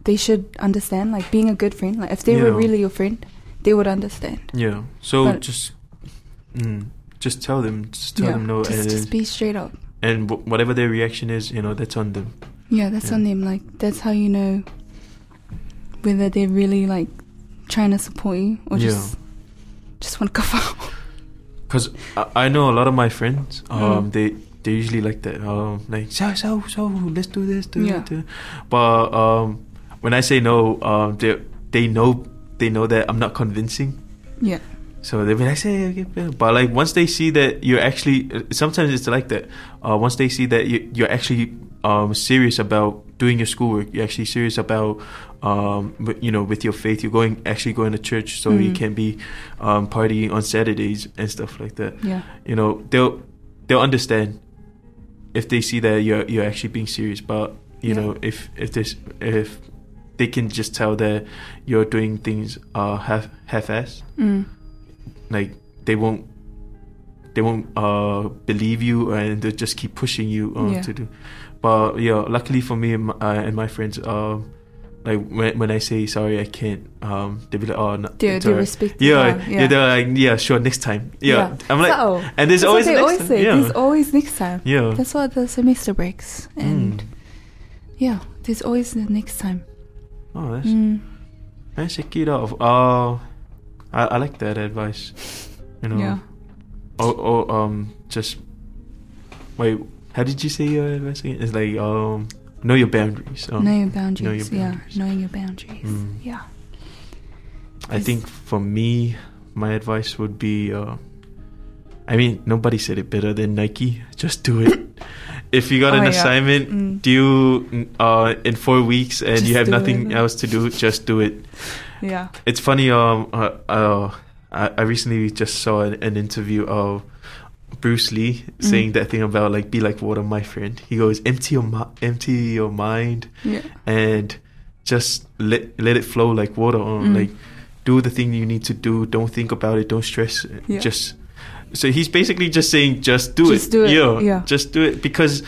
[SPEAKER 5] they should understand. Like being a good friend, like if they were
[SPEAKER 2] Yeah.
[SPEAKER 5] really your friend, they would understand.
[SPEAKER 2] Yeah. So
[SPEAKER 5] But-
[SPEAKER 2] just, mm, just tell them, just tell
[SPEAKER 5] yeah.
[SPEAKER 2] them no,
[SPEAKER 5] Just,
[SPEAKER 2] and,
[SPEAKER 5] just be straight up.
[SPEAKER 2] and w- whatever their reaction is, you know, that's on them.
[SPEAKER 5] Yeah, that's
[SPEAKER 2] Yeah.
[SPEAKER 5] on them. Like that's how you know whether they're really like trying to support you or
[SPEAKER 2] Yeah.
[SPEAKER 5] just just want to go out.
[SPEAKER 2] Cause I, I know a lot of my friends. Um,
[SPEAKER 5] Mm.
[SPEAKER 2] they they usually like that. Um, like so so so, let's do this, do
[SPEAKER 5] Yeah.
[SPEAKER 2] that. do that." But um, when I say no, um, they they know they know that I'm not convincing.
[SPEAKER 5] Yeah.
[SPEAKER 2] So they be like, say, okay, blah." but like once they see that you're actually, uh, sometimes it's like that. Uh, once they see that you, you're actually um, serious about doing your schoolwork, you're actually serious about, um, wi- you know, with your faith, you're going actually going to church, so you
[SPEAKER 5] Mm.
[SPEAKER 2] can be um, partying on Saturdays and stuff like that.
[SPEAKER 5] Yeah.
[SPEAKER 2] You know, they'll they'll understand if they see that you're you're actually being serious. But you
[SPEAKER 5] Yeah.
[SPEAKER 2] know, if if this if they can just tell that you're doing things uh, half half-assed
[SPEAKER 5] Mm.
[SPEAKER 2] like they won't they won't uh believe you and they'll just keep pushing you um,
[SPEAKER 5] Yeah.
[SPEAKER 2] to do but yeah luckily for me and my, uh, and my friends um like when, when i say sorry i can't um they'll be like oh no,
[SPEAKER 5] They
[SPEAKER 2] it's
[SPEAKER 5] they
[SPEAKER 2] all right."
[SPEAKER 5] respect.
[SPEAKER 2] yeah,
[SPEAKER 5] you now,
[SPEAKER 2] yeah they're like yeah sure next time yeah, i'm like
[SPEAKER 5] So,
[SPEAKER 2] and there's
[SPEAKER 5] that's
[SPEAKER 2] always
[SPEAKER 5] what they
[SPEAKER 2] next
[SPEAKER 5] always
[SPEAKER 2] time.
[SPEAKER 5] say.
[SPEAKER 2] yeah
[SPEAKER 5] There's always next time.
[SPEAKER 2] yeah
[SPEAKER 5] That's why the semester breaks, and
[SPEAKER 2] Mm.
[SPEAKER 5] yeah, there's always the next time.
[SPEAKER 2] oh that's
[SPEAKER 5] Mm.
[SPEAKER 2] that's a kid off oh I, I like that advice you know
[SPEAKER 5] Yeah.
[SPEAKER 2] or, or um just wait how did you say your advice again it's like um know your boundaries um,
[SPEAKER 5] know your boundaries.
[SPEAKER 2] boundaries.
[SPEAKER 5] Yeah, knowing your boundaries.
[SPEAKER 2] Mm.
[SPEAKER 5] Yeah.
[SPEAKER 2] i think for me my advice would be uh i mean nobody said it better than nike just do it if you got
[SPEAKER 5] Oh,
[SPEAKER 2] an
[SPEAKER 5] yeah.
[SPEAKER 2] assignment
[SPEAKER 5] Mm.
[SPEAKER 2] due uh in four weeks and
[SPEAKER 5] Just
[SPEAKER 2] you have
[SPEAKER 5] do
[SPEAKER 2] nothing
[SPEAKER 5] it.
[SPEAKER 2] else to do just do it
[SPEAKER 5] Yeah.
[SPEAKER 2] It's funny. Um, uh, uh, I, I recently just saw an, an interview of Bruce Lee saying
[SPEAKER 5] Mhm.
[SPEAKER 2] that thing about like be like water, my friend. He goes, empty your mi- empty your mind
[SPEAKER 5] Yeah.
[SPEAKER 2] and just let let it flow like water. On
[SPEAKER 5] Mm.
[SPEAKER 2] like do the thing you need to do. Don't think about it. Don't stress. it.
[SPEAKER 5] Yeah.
[SPEAKER 2] Just so he's basically just saying, just do
[SPEAKER 5] Just
[SPEAKER 2] it.
[SPEAKER 5] do it,
[SPEAKER 2] Yeah,
[SPEAKER 5] yeah.
[SPEAKER 2] Just do it because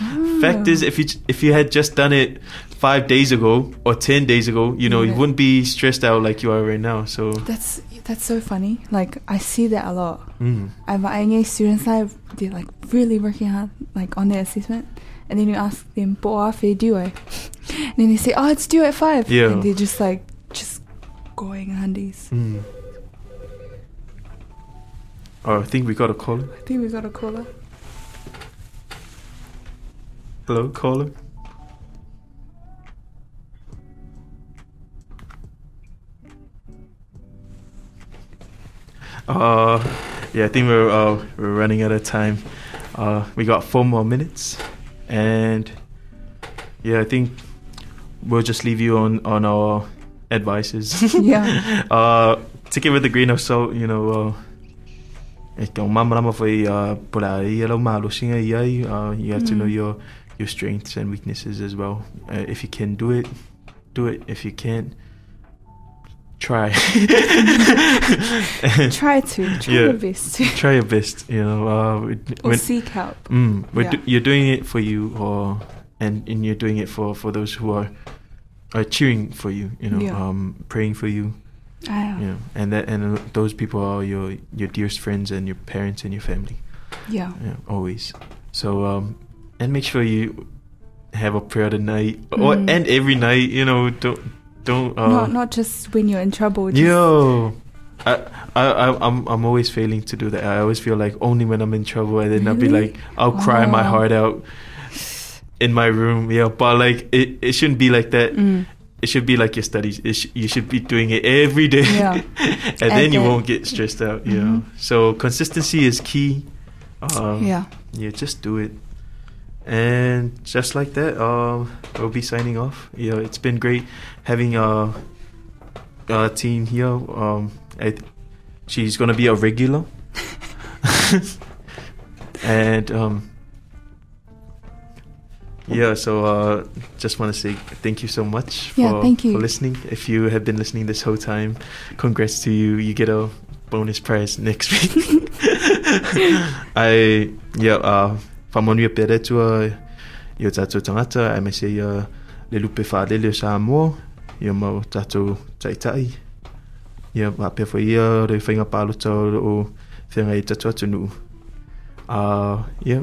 [SPEAKER 2] fact
[SPEAKER 5] Ah.
[SPEAKER 2] is, if you j- if you had just done it five days ago or ten days ago, you know,
[SPEAKER 5] Yeah.
[SPEAKER 2] you wouldn't be stressed out like you are right now. So
[SPEAKER 5] That's that's so funny. Like I see that a lot.
[SPEAKER 2] mm,
[SPEAKER 5] I've I know students that I've- they're like really working hard like on their assessment, and then you ask them, "But after you do it," and then they say, "Oh, it's due at 5.
[SPEAKER 2] Yeah.
[SPEAKER 5] And they're just like just going handies.
[SPEAKER 2] mm. Oh, I think we got a caller.
[SPEAKER 5] I think we got a caller.
[SPEAKER 2] Hello, caller. Uh, yeah, I think we're uh, we're running out of time. Uh, we got four more minutes, and yeah, I think we'll just leave you on on our advices.
[SPEAKER 5] Yeah.
[SPEAKER 2] uh, take it with a grain of salt, you know. Uh, e te o mamarama whai uh, pura ia lau mahalosinga i ai. Uh, you have to
[SPEAKER 5] Mm.
[SPEAKER 2] know your your strengths and weaknesses as well. Uh, if you can do it, do it. If you can't, try.
[SPEAKER 5] try to try
[SPEAKER 2] Yeah.
[SPEAKER 5] your best to
[SPEAKER 2] try your best. You know, uh, it-
[SPEAKER 5] or
[SPEAKER 2] when-
[SPEAKER 5] seek help.
[SPEAKER 2] Mm, we're
[SPEAKER 5] Yeah.
[SPEAKER 2] do, you're doing it for you, or and, and you're doing it for, for those who are are cheering for you. You know,
[SPEAKER 5] Yeah.
[SPEAKER 2] um, praying for you.
[SPEAKER 5] Ah,
[SPEAKER 2] You know, and that and those people are your your dearest friends and your parents and your family.
[SPEAKER 5] yeah.
[SPEAKER 2] Yeah, always. So um, and make sure you have a prayer tonight or
[SPEAKER 5] Mm.
[SPEAKER 2] and every night. You know, don't don't. Uh,
[SPEAKER 5] not not just when you're in trouble. Just,
[SPEAKER 2] Yo. I, I I- I'm I'm always failing to do that. I always feel like only when I'm in trouble, and then I'll be
[SPEAKER 5] Really?
[SPEAKER 2] like, I'll cry my
[SPEAKER 5] Oh.
[SPEAKER 2] heart out in my room. Yeah, but like it, it shouldn't be like that.
[SPEAKER 5] Mm.
[SPEAKER 2] It should be like your studies. It sh- you should be doing it every day,
[SPEAKER 5] Yeah.
[SPEAKER 2] and
[SPEAKER 5] And
[SPEAKER 2] then you
[SPEAKER 5] then-
[SPEAKER 2] won't get stressed out. Yeah.
[SPEAKER 5] Mhm.
[SPEAKER 2] So consistency is key. Um,
[SPEAKER 5] yeah.
[SPEAKER 2] yeah, just do it. And just like that, um, we'll be signing off. Yeah, it's been great having uh, uh team here. Um, I th- she's gonna be a regular. and um, Yeah, so uh, just want to say thank you so much for,
[SPEAKER 5] Yeah, thank you.
[SPEAKER 2] for listening. If you have been listening this whole time, congrats to you. You get a bonus prize next week. I yeah, uh whamanu e pere tua i o tātou tangata, ai me se ia le lupe whaalele o Samoa, i o mau tātou taitai. Ia wape whai ia, rei whainga pālota o whenga i tātou atu nuu. Uh, yeah,